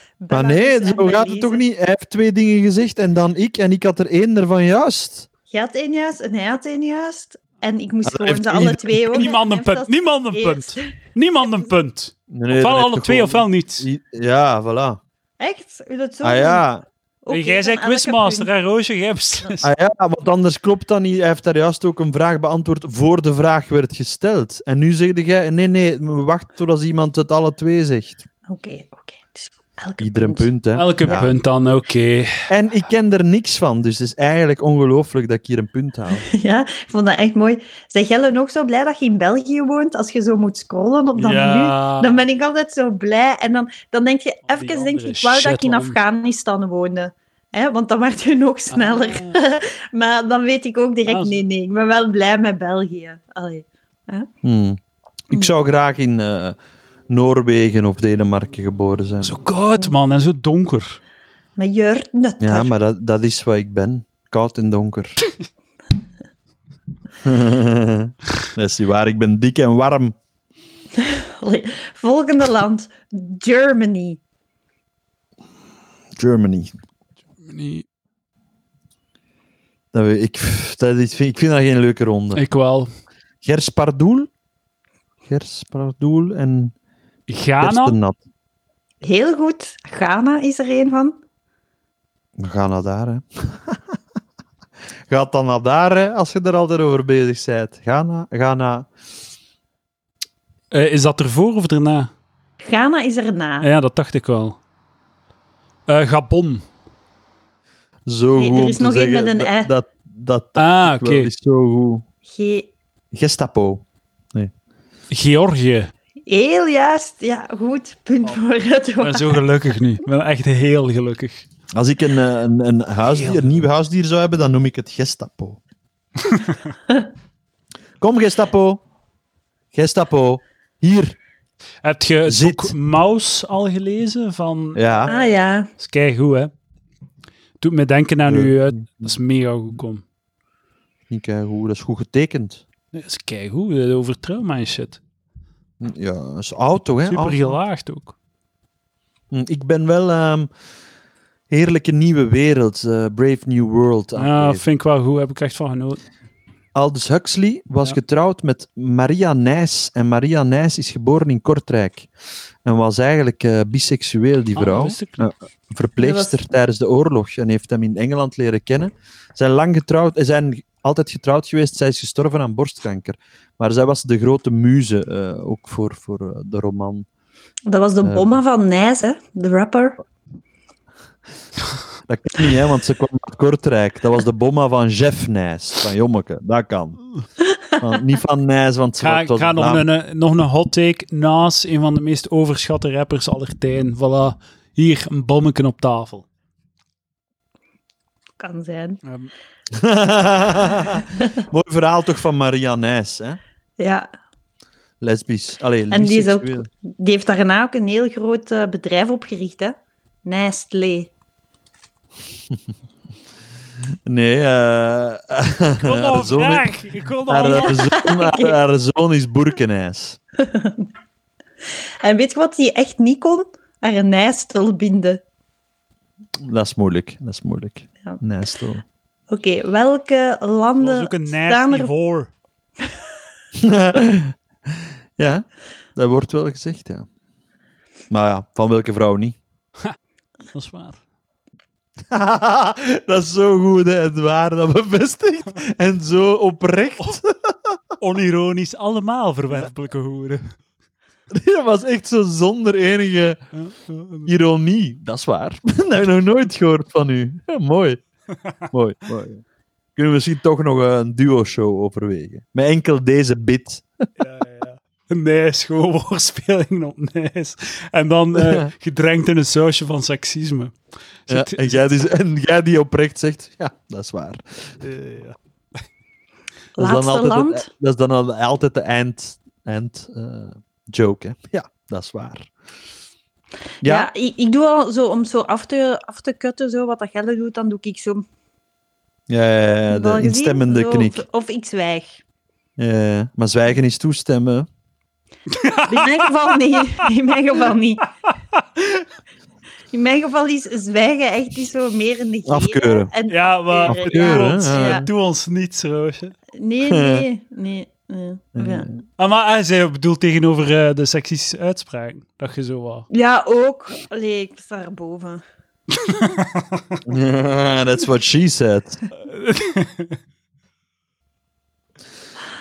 Belarus
Ah, nee,
en
zo gaat
Belize.
het toch niet? Hij heeft twee dingen gezegd en dan ik. En ik had er één ervan juist.
Je had één juist en hij had één juist. En ik moest
Maar dat
gewoon
Ah, heeft
ze alle
ieder-
twee horen.
Niemand een
Hij heeft
punt.
dat
Niemand een punt.
eerst.
Niemand een punt.
Nee, nee,
Ofwel
dan heb
alle
je
twee,
gewoon-
ofwel niet.
Ja, voilà.
Echt? Wil je dat zo
Ah
doen?
ja,
Oké,
jij
dan
zei
elke
quizmaster,
punt.
hè, Roosje? Jij beslist.
ah ja, want anders klopt dat niet. Hij heeft daar juist ook een vraag beantwoord voor de vraag werd gesteld. En nu zegt jij, nee, nee, wacht totdat iemand het alle twee zegt.
Oké, oké. Dus elke
Ieder een punt, hè.
Elke
Ja.
punt dan, oké.
En ik ken er niks van, dus het is eigenlijk ongelooflijk dat ik hier een punt haal.
Ja, ik vond dat echt mooi. Zeg Jelle ook zo blij dat je in België woont? Als je zo moet scrollen op dat menu,
Ja.
dan ben ik altijd zo blij. En dan, dan denk je,
die
even denk je,
andere
ik wou dat ik in
shit, man.
Afghanistan woonde. hè? want dan werd je nog sneller. maar dan weet ik ook direct,
Ah, zo.
nee, nee, ik ben wel blij met België. Allee.
Hmm. Ik zou graag in eh, Noorwegen of Denemarken geboren zijn.
Zo koud, man, en zo donker.
Maar je net.
Ja, maar dat, dat is wat ik ben. Koud en donker. dat is niet waar, ik ben dik en warm.
Allee. Volgende land, Germany.
Germany. Dat, we- ik, dat is, ik vind dat geen leuke ronde.
Ik wel.
Gers Pardoel. Gers Pardoel en
Ghana?
Kerstenat.
Heel goed. Ghana is er een van.
We gaan naar daar, hè. Gaat dan naar daar, hè, als je er altijd over bezig bent. Ghana, Ghana.
Eh, is dat ervoor of erna?
Ghana is erna.
Ja, dat dacht ik wel. Eh, Gabon.
Zo
Nee, er
goed om
is
te
nog één
zeggen
met een
dat-
ei.
Dat, dat,
Ah,
dat
oké.
wel is zo goed.
Ge-
Gestapo.
Georgië.
Heel juist, ja, goed. Punt
Oh,
voor het
Ik ben
woord.
zo gelukkig nu. Ik ben echt heel gelukkig.
Als ik een, eh, een, een, huisdier, een nieuw huisdier zou hebben, dan noem ik het Gestapo. Kom, Gestapo. Gestapo. Hier.
Heb je het
Zit.
boek Maus al gelezen? Van...
Ja.
Ah ja,
Dat is keigoed, hè? Doet me denken aan
Ja.
u. uit. Dat is mega goed, kom.
Ik, eh, hoe, dat is goed getekend.
Dat is keigoed, eh, over trauma en shit.
Hm, Ja, dat is auto, hè.
Super
auto.
gelaagd ook.
Hm, Ik ben wel... ehm, Heerlijke nieuwe wereld, eh, Brave New World. aan het
Ja,
leven.
vind ik wel goed, heb ik echt van genoten.
Aldous Huxley was
Ja.
getrouwd met Maria Nijs. En Maria Nijs is geboren in Kortrijk. En was eigenlijk eh, biseksueel, die
Ah,
vrouw.
wist ik niet.
Eh, verpleegster
Dat
tijdens de oorlog. En heeft hem in Engeland leren kennen. Ze zijn lang getrouwd. Ze zijn altijd getrouwd geweest. Zij is gestorven aan borstkanker. Maar zij was de grote muze, eh, ook voor, voor eh, de roman.
dat was de
Eh.
bomma van Nijs, hè? de rapper.
Dat kan niet, hè, want ze kwam uit Kortrijk. Dat was de bomma van Jeff Nijs, van Jommeke. Dat kan. Van- niet van Nijs, want
Ik ga,
het was
ik ga nog,
naam.
een, eh, nog een hot take naast een van de meest overschatte rappers aller tijden. Voilà, hier een bommeken op tafel.
Kan zijn.
Ehm,
Mooi verhaal toch van Maria Nijs, hè?
Ja.
Lesbisch. Allee,
En die, is ook,
biseksueel.
die heeft daarna ook een heel groot eh, bedrijf opgericht, hè? Nestlé.
Nee, eh haar, zoon, haar,
Ik wil
zoon, haar, haar zoon is Boerkenijs.
En weet je wat die echt niet kon? Haar nijstel binden.
Dat is moeilijk, dat is moeilijk.
Ja.
Nijs toch.
Oké, welke landen
ook een
staan
nasty
er...
whore.
ja, dat wordt wel gezegd, ja. Maar ja, van welke vrouw niet?
Dat is waar.
dat is zo goed hè, en waar, dat bevestigt. En zo oprecht.
Onironisch, allemaal verwerpelijke hoeren.
dat was echt zo zonder enige ironie. Dat is waar. dat heb ik nog nooit gehoord van u. Ja, mooi. mooi. Mooi. Kunnen we misschien toch nog een duo-show overwegen? Met enkel deze bit.
Nijs, gewoon woordspeling op Nijs. En dan eh, gedrenkt in een sausje van seksisme.
Ja,
Zit-
en, jij die, en jij die oprecht zegt, ja, dat is waar.
eh, ja.
Dat is dan
Laatste
altijd het- e- eh,
land?
dat is dan al- altijd de eind, eind eh, joke, hè. Ja, dat is waar.
Ja,
Ja,
ik, ik doe al zo, om het zo af te, af te kutten, zo, wat dat Gelle doet, dan doe ik zo...
ja, ja, ja,
Wel
de
gezien?
instemmende
Zo,
knik.
Of, of ik zwijg.
Ja, maar zwijgen is toestemmen.
In mijn geval niet. In mijn geval niet. In mijn geval is zwijgen echt niet zo meer een negeren.
Afkeuren.
En,
ja, maar
Afkeuren,
doe, ons,
hè,
ja.
doe ons niets, Roosje.
Nee, nee, nee. nee.
Mm.
Ja.
Ah, maar hij zei, bedoelt tegenover eh, de seksistische uitspraak. Dat je zo was.
ja, ook. Allee, ik sta erboven.
Ja, That's what she said.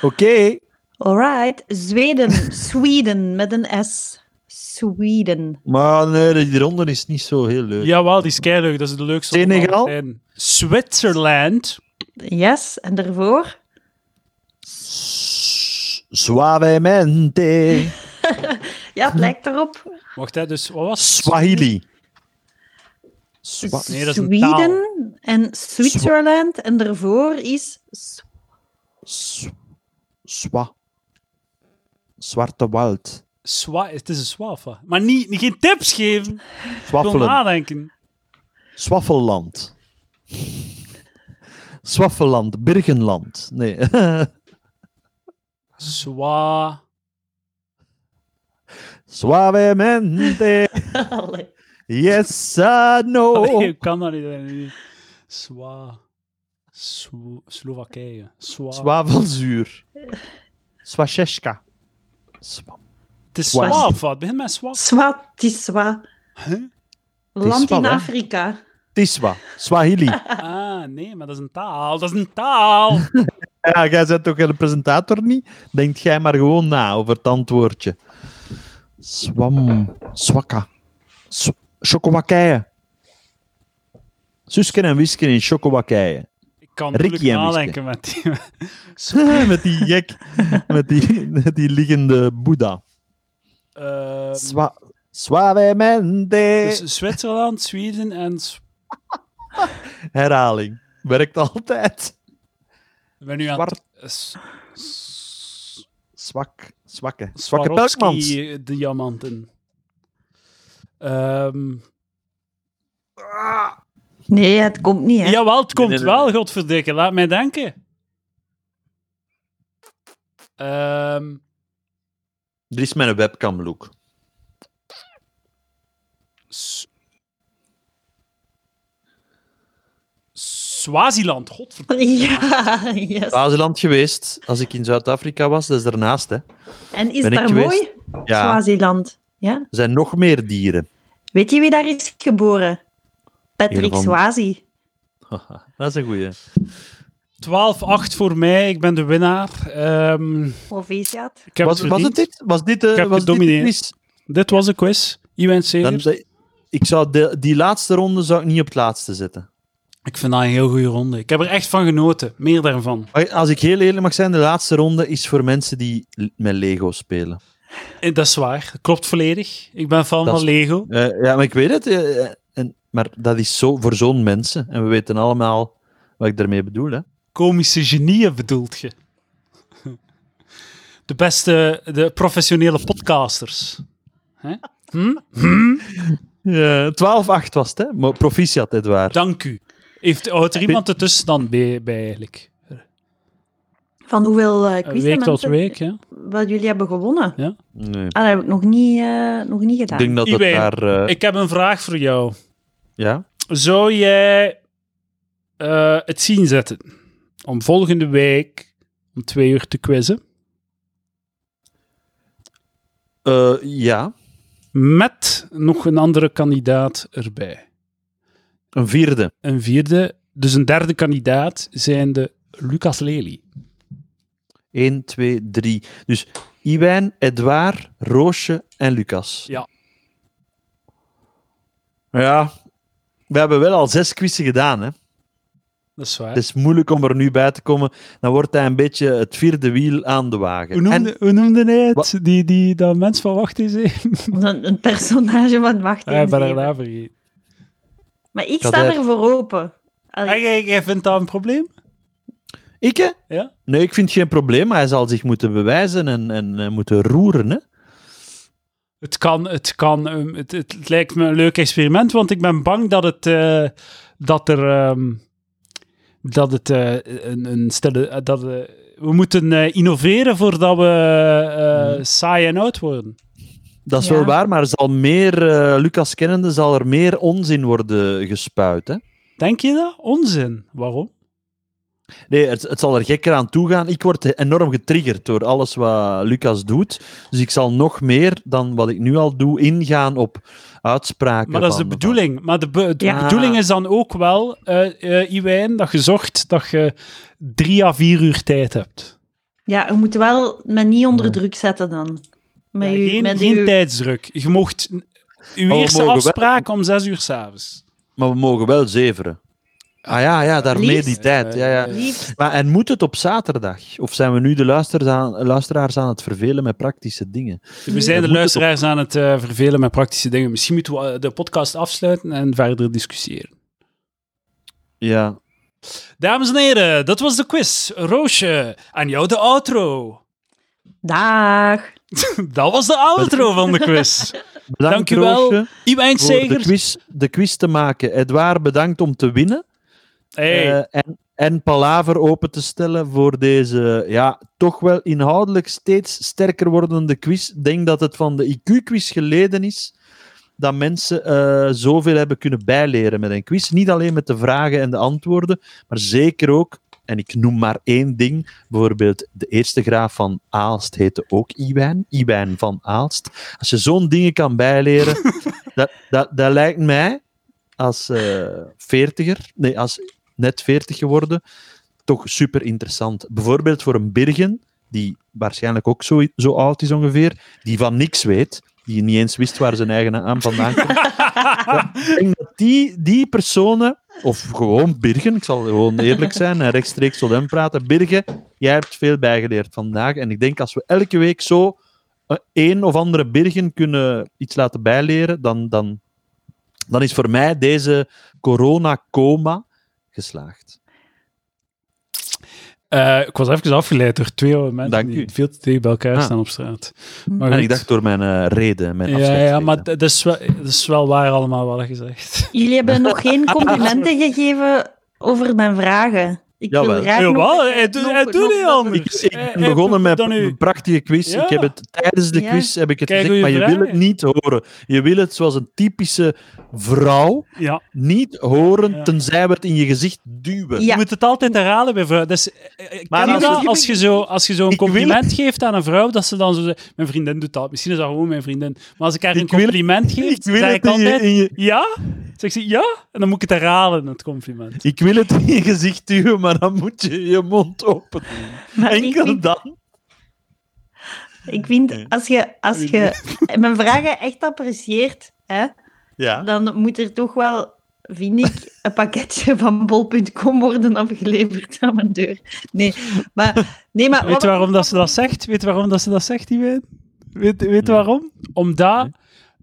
Oké.
Alright. Zweden. Sweden met een S. Sweden.
Maar nee, die ronde is niet zo heel leuk.
Jawel, die is keileuk. Dat is de leukste. van
Senegal?
alle tijden. Zwitserland.
Yes, en daarvoor?
S- Suavemente.
Ja, het lijkt erop.
Wacht, hè, dus wat was het?
Swahili.
Nee, dat is een taal.
Sweden en Zwitserland. En daarvoor is S-
Swa. Swa. Zwarte Wald.
Zwa- het is een zwafa. Maar niet, niet- geen tips geven. Ik wil
Swaffelen.
nadenken.
Swaffelland. Swaffelland. Birgenland. Nee.
Zwa...
Suavemente.
Allee.
Yes, I know.
Nee, ik kan dat niet. dat niet. Zwa... Slo- Slowakije. Zwa...
Zwavelzuur. Swasheska. Swa-
Het is
Zwa-
zwafa. Het begint met zwa.
Swatiswa.
Het is
Land
wel,
in
hè?
Afrika.
Tiswa. Swahili.
Ah, nee, maar dat is een taal. Dat is een taal.
Ja, jij bent toch een presentator niet? Denk jij maar gewoon na over het antwoordje. Swam. Swakka. Sw- Chokowakije. Susken en Wisken in Chokowakije.
Ik kan
Ricky
moeilijk
en Wiske.
nadenken met die.
met die gek. Met die, met die liggende Boeddha.
Eh,
Swa suavemente.
dus Zwitserland, Zweden en... Z-
Herhaling. Werkt altijd.
Ik ben nu aan
Zwart.
het... S- s-
Zwak. Zwakke. Zwakke Pelkmans.
Swarovski diamanten. Ehm
Nee, het komt niet, hè?
Jawel, het komt
nee, nee,
wel, godverdikke. Laat mij denken. Ehm,
Er is mijn webcam look.
S- Swaziland, godverdikke.
Ja, yes.
Swaziland geweest, als ik in Zuid-Afrika was, dat is daarnaast. Hè.
En is
Ben ik
daar
geweest?
mooi?
Ja, er
Swaziland. Ja?
zijn nog meer dieren.
Weet je wie daar is geboren? Patrick
Hiervan.
Swazi.
Dat is een goeie.
12-8 voor mij, ik ben de winnaar. Ehm,
Proficiat.
ik heb
Was,
het
was het
verdiend.
dit? Was dit, eh,
Ik heb
was dit de
gedomineerd.
quiz?
Dit was de quiz. Iwan Segers.
Dan, ik zou de- die laatste ronde zou ik niet op het laatste zetten.
Ik vind dat een heel goede ronde. Ik heb er echt van genoten. Meer daarvan.
Maar Als ik heel eerlijk mag zijn, de laatste ronde is voor mensen die l- met Lego spelen.
Eh, Dat is waar. Dat klopt volledig. Ik ben fan
Dat
van
is-
Lego.
Eh, ja, maar ik weet het. eh, eh, en, maar dat is zo voor zo'n mensen. En we weten allemaal wat ik daarmee bedoel. Hè?
Komische genieën bedoelt je? De beste, de professionele podcasters. Hè? Hm?
Ja, 12-8 was het, hè? Maar proficiat, Edouard.
Dank u. Heeft, houdt er iemand de tussenstand bij, bij eigenlijk?
Van hoeveel eh
Eh, Week tot
quizmomenten-
week, hè?
wat jullie hebben gewonnen.
Nee.
Ah, dat heb ik nog niet, eh, nog niet
Ik
gedaan.
denk dat het
Iwijn,
daar... eh,
Ik heb een vraag voor jou.
Ja?
Zou jij eh, het zien zetten om volgende week om twee uur te quizzen
Eh, ja,
met nog een andere kandidaat erbij?
een vierde.
Een vierde, dus een derde kandidaat, zijn de Lucas Lely.
1, 2, 3. Dus Iwijn, Edouard, Roosje en Lucas.
Ja.
Ja, we hebben wel al zes quizzen gedaan, hè?
Dat is waar.
Het is moeilijk om er nu bij te komen. Dan wordt hij een beetje het vierde wiel aan de wagen.
hoe, noemde,
En
hoe noemde hij het?
Wat?
Die, die, dat mens van wacht is. hè?
Een, een personage van wacht
Ah, ik
eens
ben haar
even.
naam vergeten.
Maar ik
Dat
sta
hij-
er voor open. Allee,
Ah, jij- Jij vindt dat een probleem?
ik, hè?
Ja?
Nee, ik vind het geen probleem, maar hij zal zich moeten bewijzen en, en eh, moeten roeren, hè?
Het kan, het kan. ehm, Het, het, het lijkt me een leuk experiment, want ik ben bang dat het. eh, dat er. ehm, dat het eh, een, een stille. eh, dat, eh, we moeten eh, innoveren voordat we eh,
Hmm.
saai en oud worden.
Dat is
Ja.
wel waar, maar er zal meer, eh, Lucas kennende, zal er meer onzin worden gespuit, hè?
Denk je dat? Onzin. Waarom?
Nee, het, het zal er gekker aan toe gaan. Ik word enorm getriggerd door alles wat Lucas doet. Dus ik zal nog meer dan wat ik nu al doe ingaan op uitspraken.
Maar dat is de
van-
bedoeling. Maar de, be- de
Ja.
bedoeling is dan ook wel, eh eh Iwijn, dat je zorgt dat je drie à vier uur tijd hebt.
Ja, je moet wel me niet onder
Nee.
druk zetten dan. Met
Ja,
uw-
geen
met
geen
uw-
tijdsdruk. Je mocht... Uw
we
eerste
Oh, mogen wel-
afspraak om zes uur s'avonds.
Maar we mogen wel zeveren. Ah ja, ja daarmee
Liefst.
die tijd. Ja, ja.
Liefst.
Maar en moet het op zaterdag? Of zijn we nu de luisteraars aan, luisteraars aan het vervelen met praktische dingen?
We zijn de
moet
luisteraars aan het eh, vervelen met praktische dingen. Misschien moeten we eh, de podcast afsluiten en verder discussiëren.
Ja.
Dames en heren, dat was de quiz. Roosje, aan jou de outro.
Dag.
Dat was de outro van de quiz.
Bedankt,
Dank u wel.
Roosje,
Iwijn
voor de
Segers.
quiz, de quiz te maken. Edouard, bedankt om te winnen.
Hey,
Eh, en, en Palaver open te stellen voor deze ja, toch wel inhoudelijk steeds sterker wordende quiz. Ik denk dat het van de IQ-quiz geleden is dat mensen eh, zoveel hebben kunnen bijleren met een quiz. Niet alleen met de vragen en de antwoorden, maar zeker ook, en ik noem maar één ding, bijvoorbeeld de eerste graaf van Aalst heette ook Iwijn, Iwijn van Aalst. Als je zo'n dingen kan bijleren, dat, dat, dat lijkt mij als eh veertiger, nee, als net 40 geworden, toch super interessant. Bijvoorbeeld voor een Birgen, die waarschijnlijk ook zo, zo oud is ongeveer, die van niks weet, die niet eens wist waar zijn eigen naam vandaan komt. Ja, ik denk dat die, die personen, of gewoon Birgen, ik zal gewoon eerlijk zijn en rechtstreeks tot hem praten. Birgen, jij hebt veel bijgeleerd vandaag. En ik denk als we elke week zo eh, een of andere Birgen kunnen iets laten bijleren, dan, dan, dan is voor mij deze corona-coma geslaagd.
eh, ik was even afgeleid door twee mensen
Dank
die
u.
veel te dicht bij elkaar
Ah.
staan op straat.
Hm.
Maar
En
goed.
ik dacht door mijn eh, reden, mijn
ja, ja,
afscheidsreden.
maar d- dat is, wel, dat is wel waar allemaal wat je zegt.
Jullie hebben nog geen complimenten gegeven over mijn vragen. Ik wil
Jawel.
graag nog-
Jawel, Eh, hij doet
nog-
hij doet
nog-
niet
nog-
Ik,
anders.
ik
Hij-
ben
hij
begonnen met
Eh, dan u.
een prachtige quiz.
Ja.
Ik heb het tijdens de
Ja.
quiz heb ik het
Kijk
gezegd, maar
goeie
je wil het
vragen.
niet horen. Je wil het zoals een typische vrouw
Ja.
niet horen,
Ja.
tenzij we het in je gezicht duwen.
Ja.
Je moet het altijd herhalen bij vrouwen. Dus, eh, eh,
Maar
ken je
als
dat?
het-
als je zo, als je zo een
Ik wil
compliment geeft aan een vrouw, dat ze dan zo zegt, mijn vriendin doet dat. Misschien is dat gewoon mijn vriendin. Maar als ik haar een
Ik wil-
compliment geef,
Ik wil
zeg
het
ik
in je,
altijd,
in je-
ja? Zeg ze, ja? En dan moet ik het herhalen, het compliment.
ik wil het in je gezicht duwen, maar dan moet je je mond open.
Maar ik
Enkel
vind-
dan.
Ik vind, als je, als je mijn vragen echt apprecieert, hè,
Ja.
dan moet er toch wel, vind ik, een pakketje van bol.com worden afgeleverd aan mijn deur. Nee, maar... Nee, maar
Weet
wat-
je waarom dat ze dat zegt? Weet je waarom dat ze dat zegt, Iwijn? Weet, weet je
Nee.
waarom? Omdat,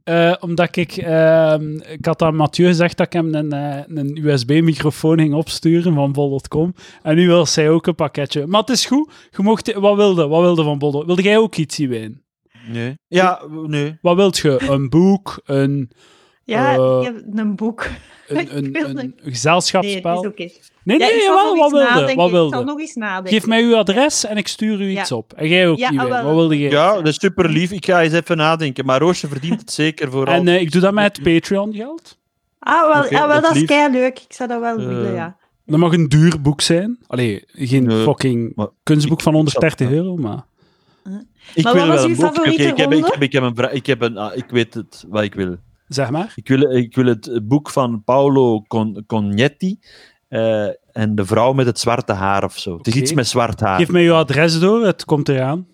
eh, omdat ik... ehm, ik had aan Mathieu gezegd dat ik hem een, eh, een USB-microfoon ging opsturen van bol.com. En nu wil zij ook een pakketje. Maar het is goed. Je mocht, wat wilde Wat wilde van bol.com? Wilde jij ook iets, Iwijn?
Nee. Ja, w- nee.
Wat wilt je? Een boek? Een,
Ja,
Eh,
ik heb een boek. Ik
een,
wil
een,
niet.
een,
Nee, het is
gezelschapsspel?
oké.
Nee,
Ja,
nee,
ik zal
jawel.
nog
Wat
iets
wilde?
nadenken.
Wat
Ik zal
wilde?
nog eens nadenken.
Geef mij uw adres en ik stuur u iets op. En jij ook,
Ja,
Iwijn.
ah, wel.
Wat wilde jij?
Ja, dat is super lief. Ik ga eens even nadenken. Maar Roosje verdient het zeker vooral.
En eh, ik doe dat met Patreon-geld.
Ah, wel,
Oké,
ah, wel
dat
dat is
lief.
kei leuk. Ik zou dat wel willen,
Eh,
ja.
Dat mag een duur boek zijn. Allee, geen
Nee,
fucking
maar
kunstboek
ik-
van
ik zal-
130 euro, maar...
ik
Maar
wil
wat was
wel
uw
een boek. Oké,
favoriete
ik, heb, ik,
ronde?
heb, ik heb een vraag. Ik, heb een, ah, ik weet het, wat ik wil.
Zeg maar.
Ik wil, ik wil het boek van Paolo Con- Cognetti. eh, en de vrouw met het zwarte haar of zo. Het is
Oké.
iets met zwart haar.
Geef mij uw adres door, het komt eraan.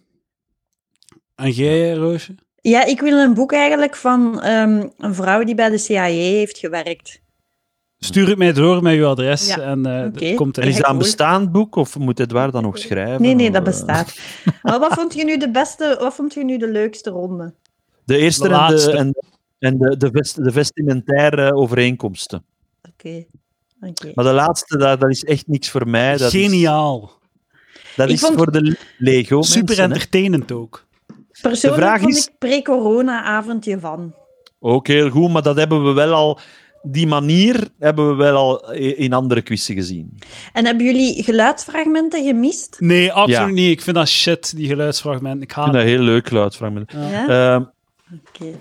En jij, Roosje?
Ja, ik wil een boek eigenlijk van ehm, een vrouw die bij de CIA heeft gewerkt.
Stuur het mij door met uw adres
Ja,
en eh, het
oké.
komt
En is
er.
dat een
Hoor.
bestaand boek of moet Edouard dat nog schrijven?
Nee, nee,
Of,
dat
eh,
bestaat. maar wat vond je nu de beste, wat vond je nu de leukste ronde?
De eerste
De
en,
laatste.
de, en, en de, de, vest- de vestimentaire overeenkomsten.
Oké. oké.
Maar de laatste, dat, dat is echt niks voor mij. Dat
Geniaal.
Is, dat
Ik
is
vond-
voor de Lego.
Super
mensen, hè.
entertainend ook.
Persoonlijk
de vraag
vond
is-
ik pre-corona-avondje van.
Ook heel goed, maar dat hebben we wel al. Die manier hebben we wel al i- in andere quizzen gezien.
En hebben jullie geluidsfragmenten gemist?
Nee, absoluut
Ja.
niet. Ik vind dat shit, die geluidsfragmenten. Ik
Ik
haat
vind dat heel leuk, Luid. Frank.
Ja.
Ehm,
Oké.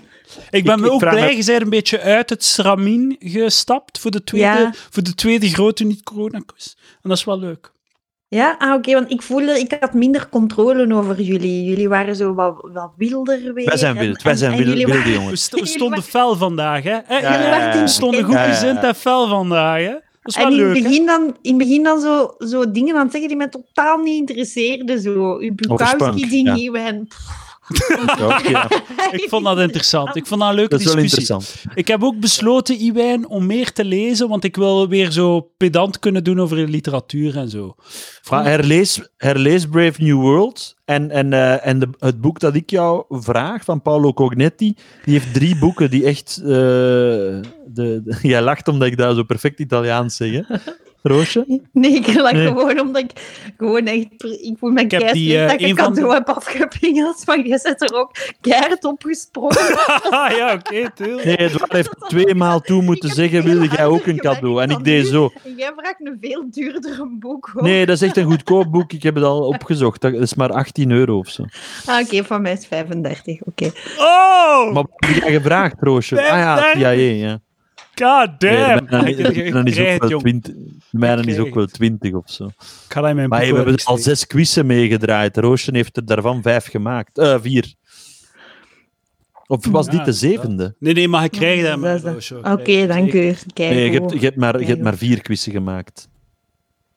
Ik ben
Ik- ik
ook
vraag
blij,
me-
je bent een beetje uit het stramien gestapt voor de tweede,
Ja.
voor de tweede grote niet-corona-quiz. En dat is wel leuk.
Ja, ah, oké, want ik voelde, ik had minder controle over jullie. Jullie waren zo wat, wat wilder weer.
wij zijn
en-
wild, wij
en-
zijn
en
wild,
jullie
wilde
waren-
We,
jongens.
st- we stonden fel vandaag, hè? Hè,
Ja,
jullie
ja, ja.
We stonden goed
Ja, ja, ja.
gezind en fel vandaag, hè? Dat is wel
En in
leuk,
het
hè?
begin dan, in het begin dan zo, zo dingen aan het zeggen die mij totaal niet interesseerden. Zo, uw
Spunk,
Bukowski-ding,
ja.
nieuw en...
Ja, oké, ja.
Ik vond dat interessant. Ik vond dat een leuke
Dat is wel
discussie.
interessant.
Ik heb ook besloten, Iwijn, om meer te lezen, want ik wil weer zo pedant kunnen doen over de literatuur en zo.
Maar herlees, herlees Brave New World. En, en, eh, en de, het boek dat ik jou vraag van Paolo Cognetti, die heeft drie boeken die echt. eh, de, de- jij lacht omdat ik dat zo perfect Italiaans zeg, hè? Roosje?
Nee, ik lach
Nee.
gewoon omdat ik gewoon echt... per- Ik voel mijn
Ik heb
keihard
die,
dat
eh,
ik een
een van de-
cadeau heb afgepingeld, maar jij zit er ook keihard opgesprongen.
Ah, ja, oké, tuurlijk.
Nee, Edouard heeft twee maal toe moeten
Ik heb
zeggen:
heel
wilde jij
hard
ook een
gewerkt
cadeau? En
dan
ik deed
nu.
zo.
En jij vraagt een veel duurder boek, hoor.
Nee, dat is echt een goedkoop boek. Ik heb het al opgezocht. Dat is maar 18 euro of zo.
Ah, oké, van mij is 35, oké.
Oh!
Maar wat heb jij gevraagd, Roosje? Ah ja, CIA, ja.
God
Nee,
damn!
de mijne- de mijne is ook
Krijg het,
wel
jong.
20 de mijne is
krijg
ook wel 20 of zo.
Ik ga dat in mijn
Maar hey,
boek
we
wel
hebben al
registreren.
zes quizzen meegedraaid. Roosje heeft er daarvan vijf gemaakt. Eh, vier. Of was
Ja,
dit de zevende?
Ah, Nee, nee, maar ik krijg dat. maar
Dat is-
zo, zo.
Oké,
Kijk,
dank
zeker.
u. Kijk,
Nee, je hebt, je hebt, maar, je
Kijk,
hebt
hoor.
maar vier quizzen gemaakt.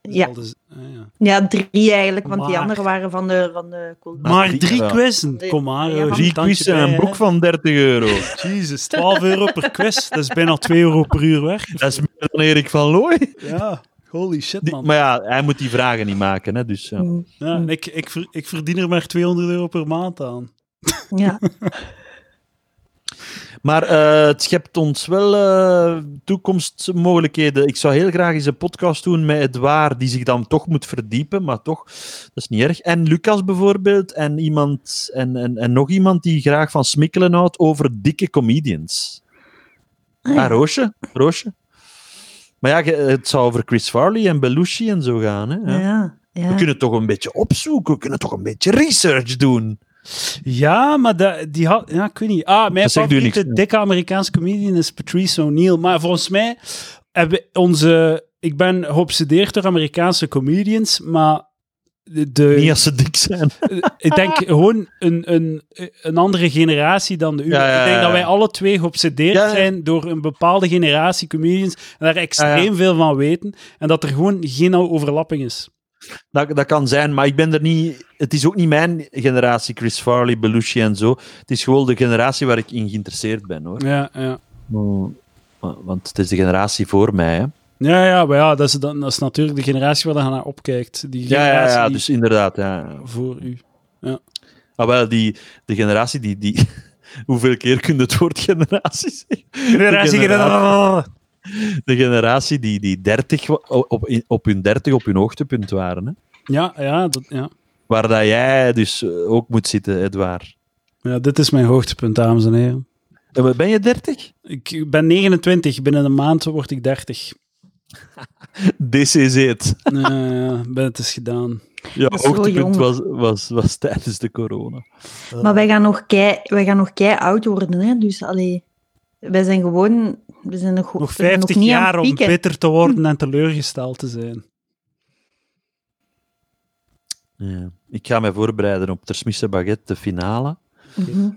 Ja.
Dat is- ah, ja.
Ja, drie eigenlijk, want die
Maar-
anderen waren van de, van de cool.
Maar
Maar
drie-
drie
ja.
quizzen.
Drie-
Kom maar,
ja,
Roosje,
Drie
tandje
quizzen en
bij,
een broek
hè.
van 30 euro.
Jezus, 12 euro per quiz. Dat is bijna 2 euro per uur weg.
Dat is meer dan Erik van Looy.
Ja, holy shit,
Die-
man.
maar ja, hij moet die vragen niet maken. Hè, dus, ja.
Mm,
Ja, en ik, ik, ver- ik verdien er maar 200 euro per maand aan.
Ja.
Maar eh, het schept ons wel eh, toekomstmogelijkheden. Ik zou heel graag eens een podcast doen met Edouard, die zich dan toch moet verdiepen, maar toch, dat is niet erg. En Lucas bijvoorbeeld, en, iemand, en, en, en nog iemand die graag van smikkelen houdt over dikke comedians. Ah, Roosje, Roosje. Maar ja, ge- het zou over Chris Farley en Belushi en zo gaan. Hè? Ja.
Ja, ja.
We kunnen toch een beetje opzoeken, we kunnen toch een beetje research doen.
Ja, maar dat- die had... Ja, ik weet niet. Ah, mijn
Dat zegt u
favoriete
niks.
dikke Amerikaanse comedian is Patrice O'Neill. Maar volgens mij hebben onze... Ik ben geobsedeerd door Amerikaanse comedians, maar... De, de-
Niet als ze dik zijn.
ik denk gewoon een, een, een andere generatie dan de uwe.
Ja, ja,
Ik denk
ja,
dat
ja.
wij alle twee geobsedeerd
Ja, ja.
zijn door een bepaalde generatie comedians en daar extreem
Ja,
veel van weten en dat er gewoon geen overlapping is.
Dat, dat kan zijn, maar ik ben er niet. Het is ook niet mijn generatie, Chris Farley, Belushi en zo. Het is gewoon de generatie waar ik in geïnteresseerd ben hoor.
Ja, ja.
Maar- Want het is de generatie voor mij. Hè.
Ja, ja, maar ja, dat is, dan- dat is natuurlijk de generatie waar je naar opkijkt. Die
Ja, ja,
generatie
ja,
die
dus inderdaad. Ja.
voor u.
Ah, wel, die, de generatie die... die hoeveel keer kun je het woord generatie zeggen?
Generatie,
generatie. De generatie die, die 30, wa- op, op hun 30 op hun hoogtepunt waren. Hè?
Ja, ja, dat, ja.
Waar dat jij dus eh, ook moet zitten, Edouard.
ja, dit is mijn hoogtepunt, dames en heren.
En wat Ben je 30?
Ik ben 29, binnen een maand word ik 30.
This is it.
Eh, ja, ben- het is gedaan.
Jouw
is zo jong.
hoogtepunt was, was, was tijdens de corona.
Maar wij gaan nog kei, wij gaan nog kei oud worden, hè? Dus allee, wij zijn gewoon, we zijn nog,
Nog
we zijn
50
niet aan het
jaar om
pieken.
bitter te worden en teleurgesteld te zijn.
Ja. Ik ga mij voorbereiden op Tersmisse Baguette, de finale.
Mhm.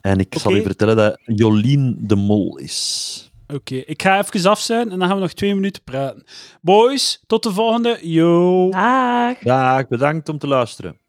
En ik zal
Oké.
u vertellen dat Jolien de Mol is.
Oké, ik ga even af zijn en dan gaan we nog twee minuten praten. Boys, tot de volgende. Yo.
Dag.
Dag, bedankt om te luisteren.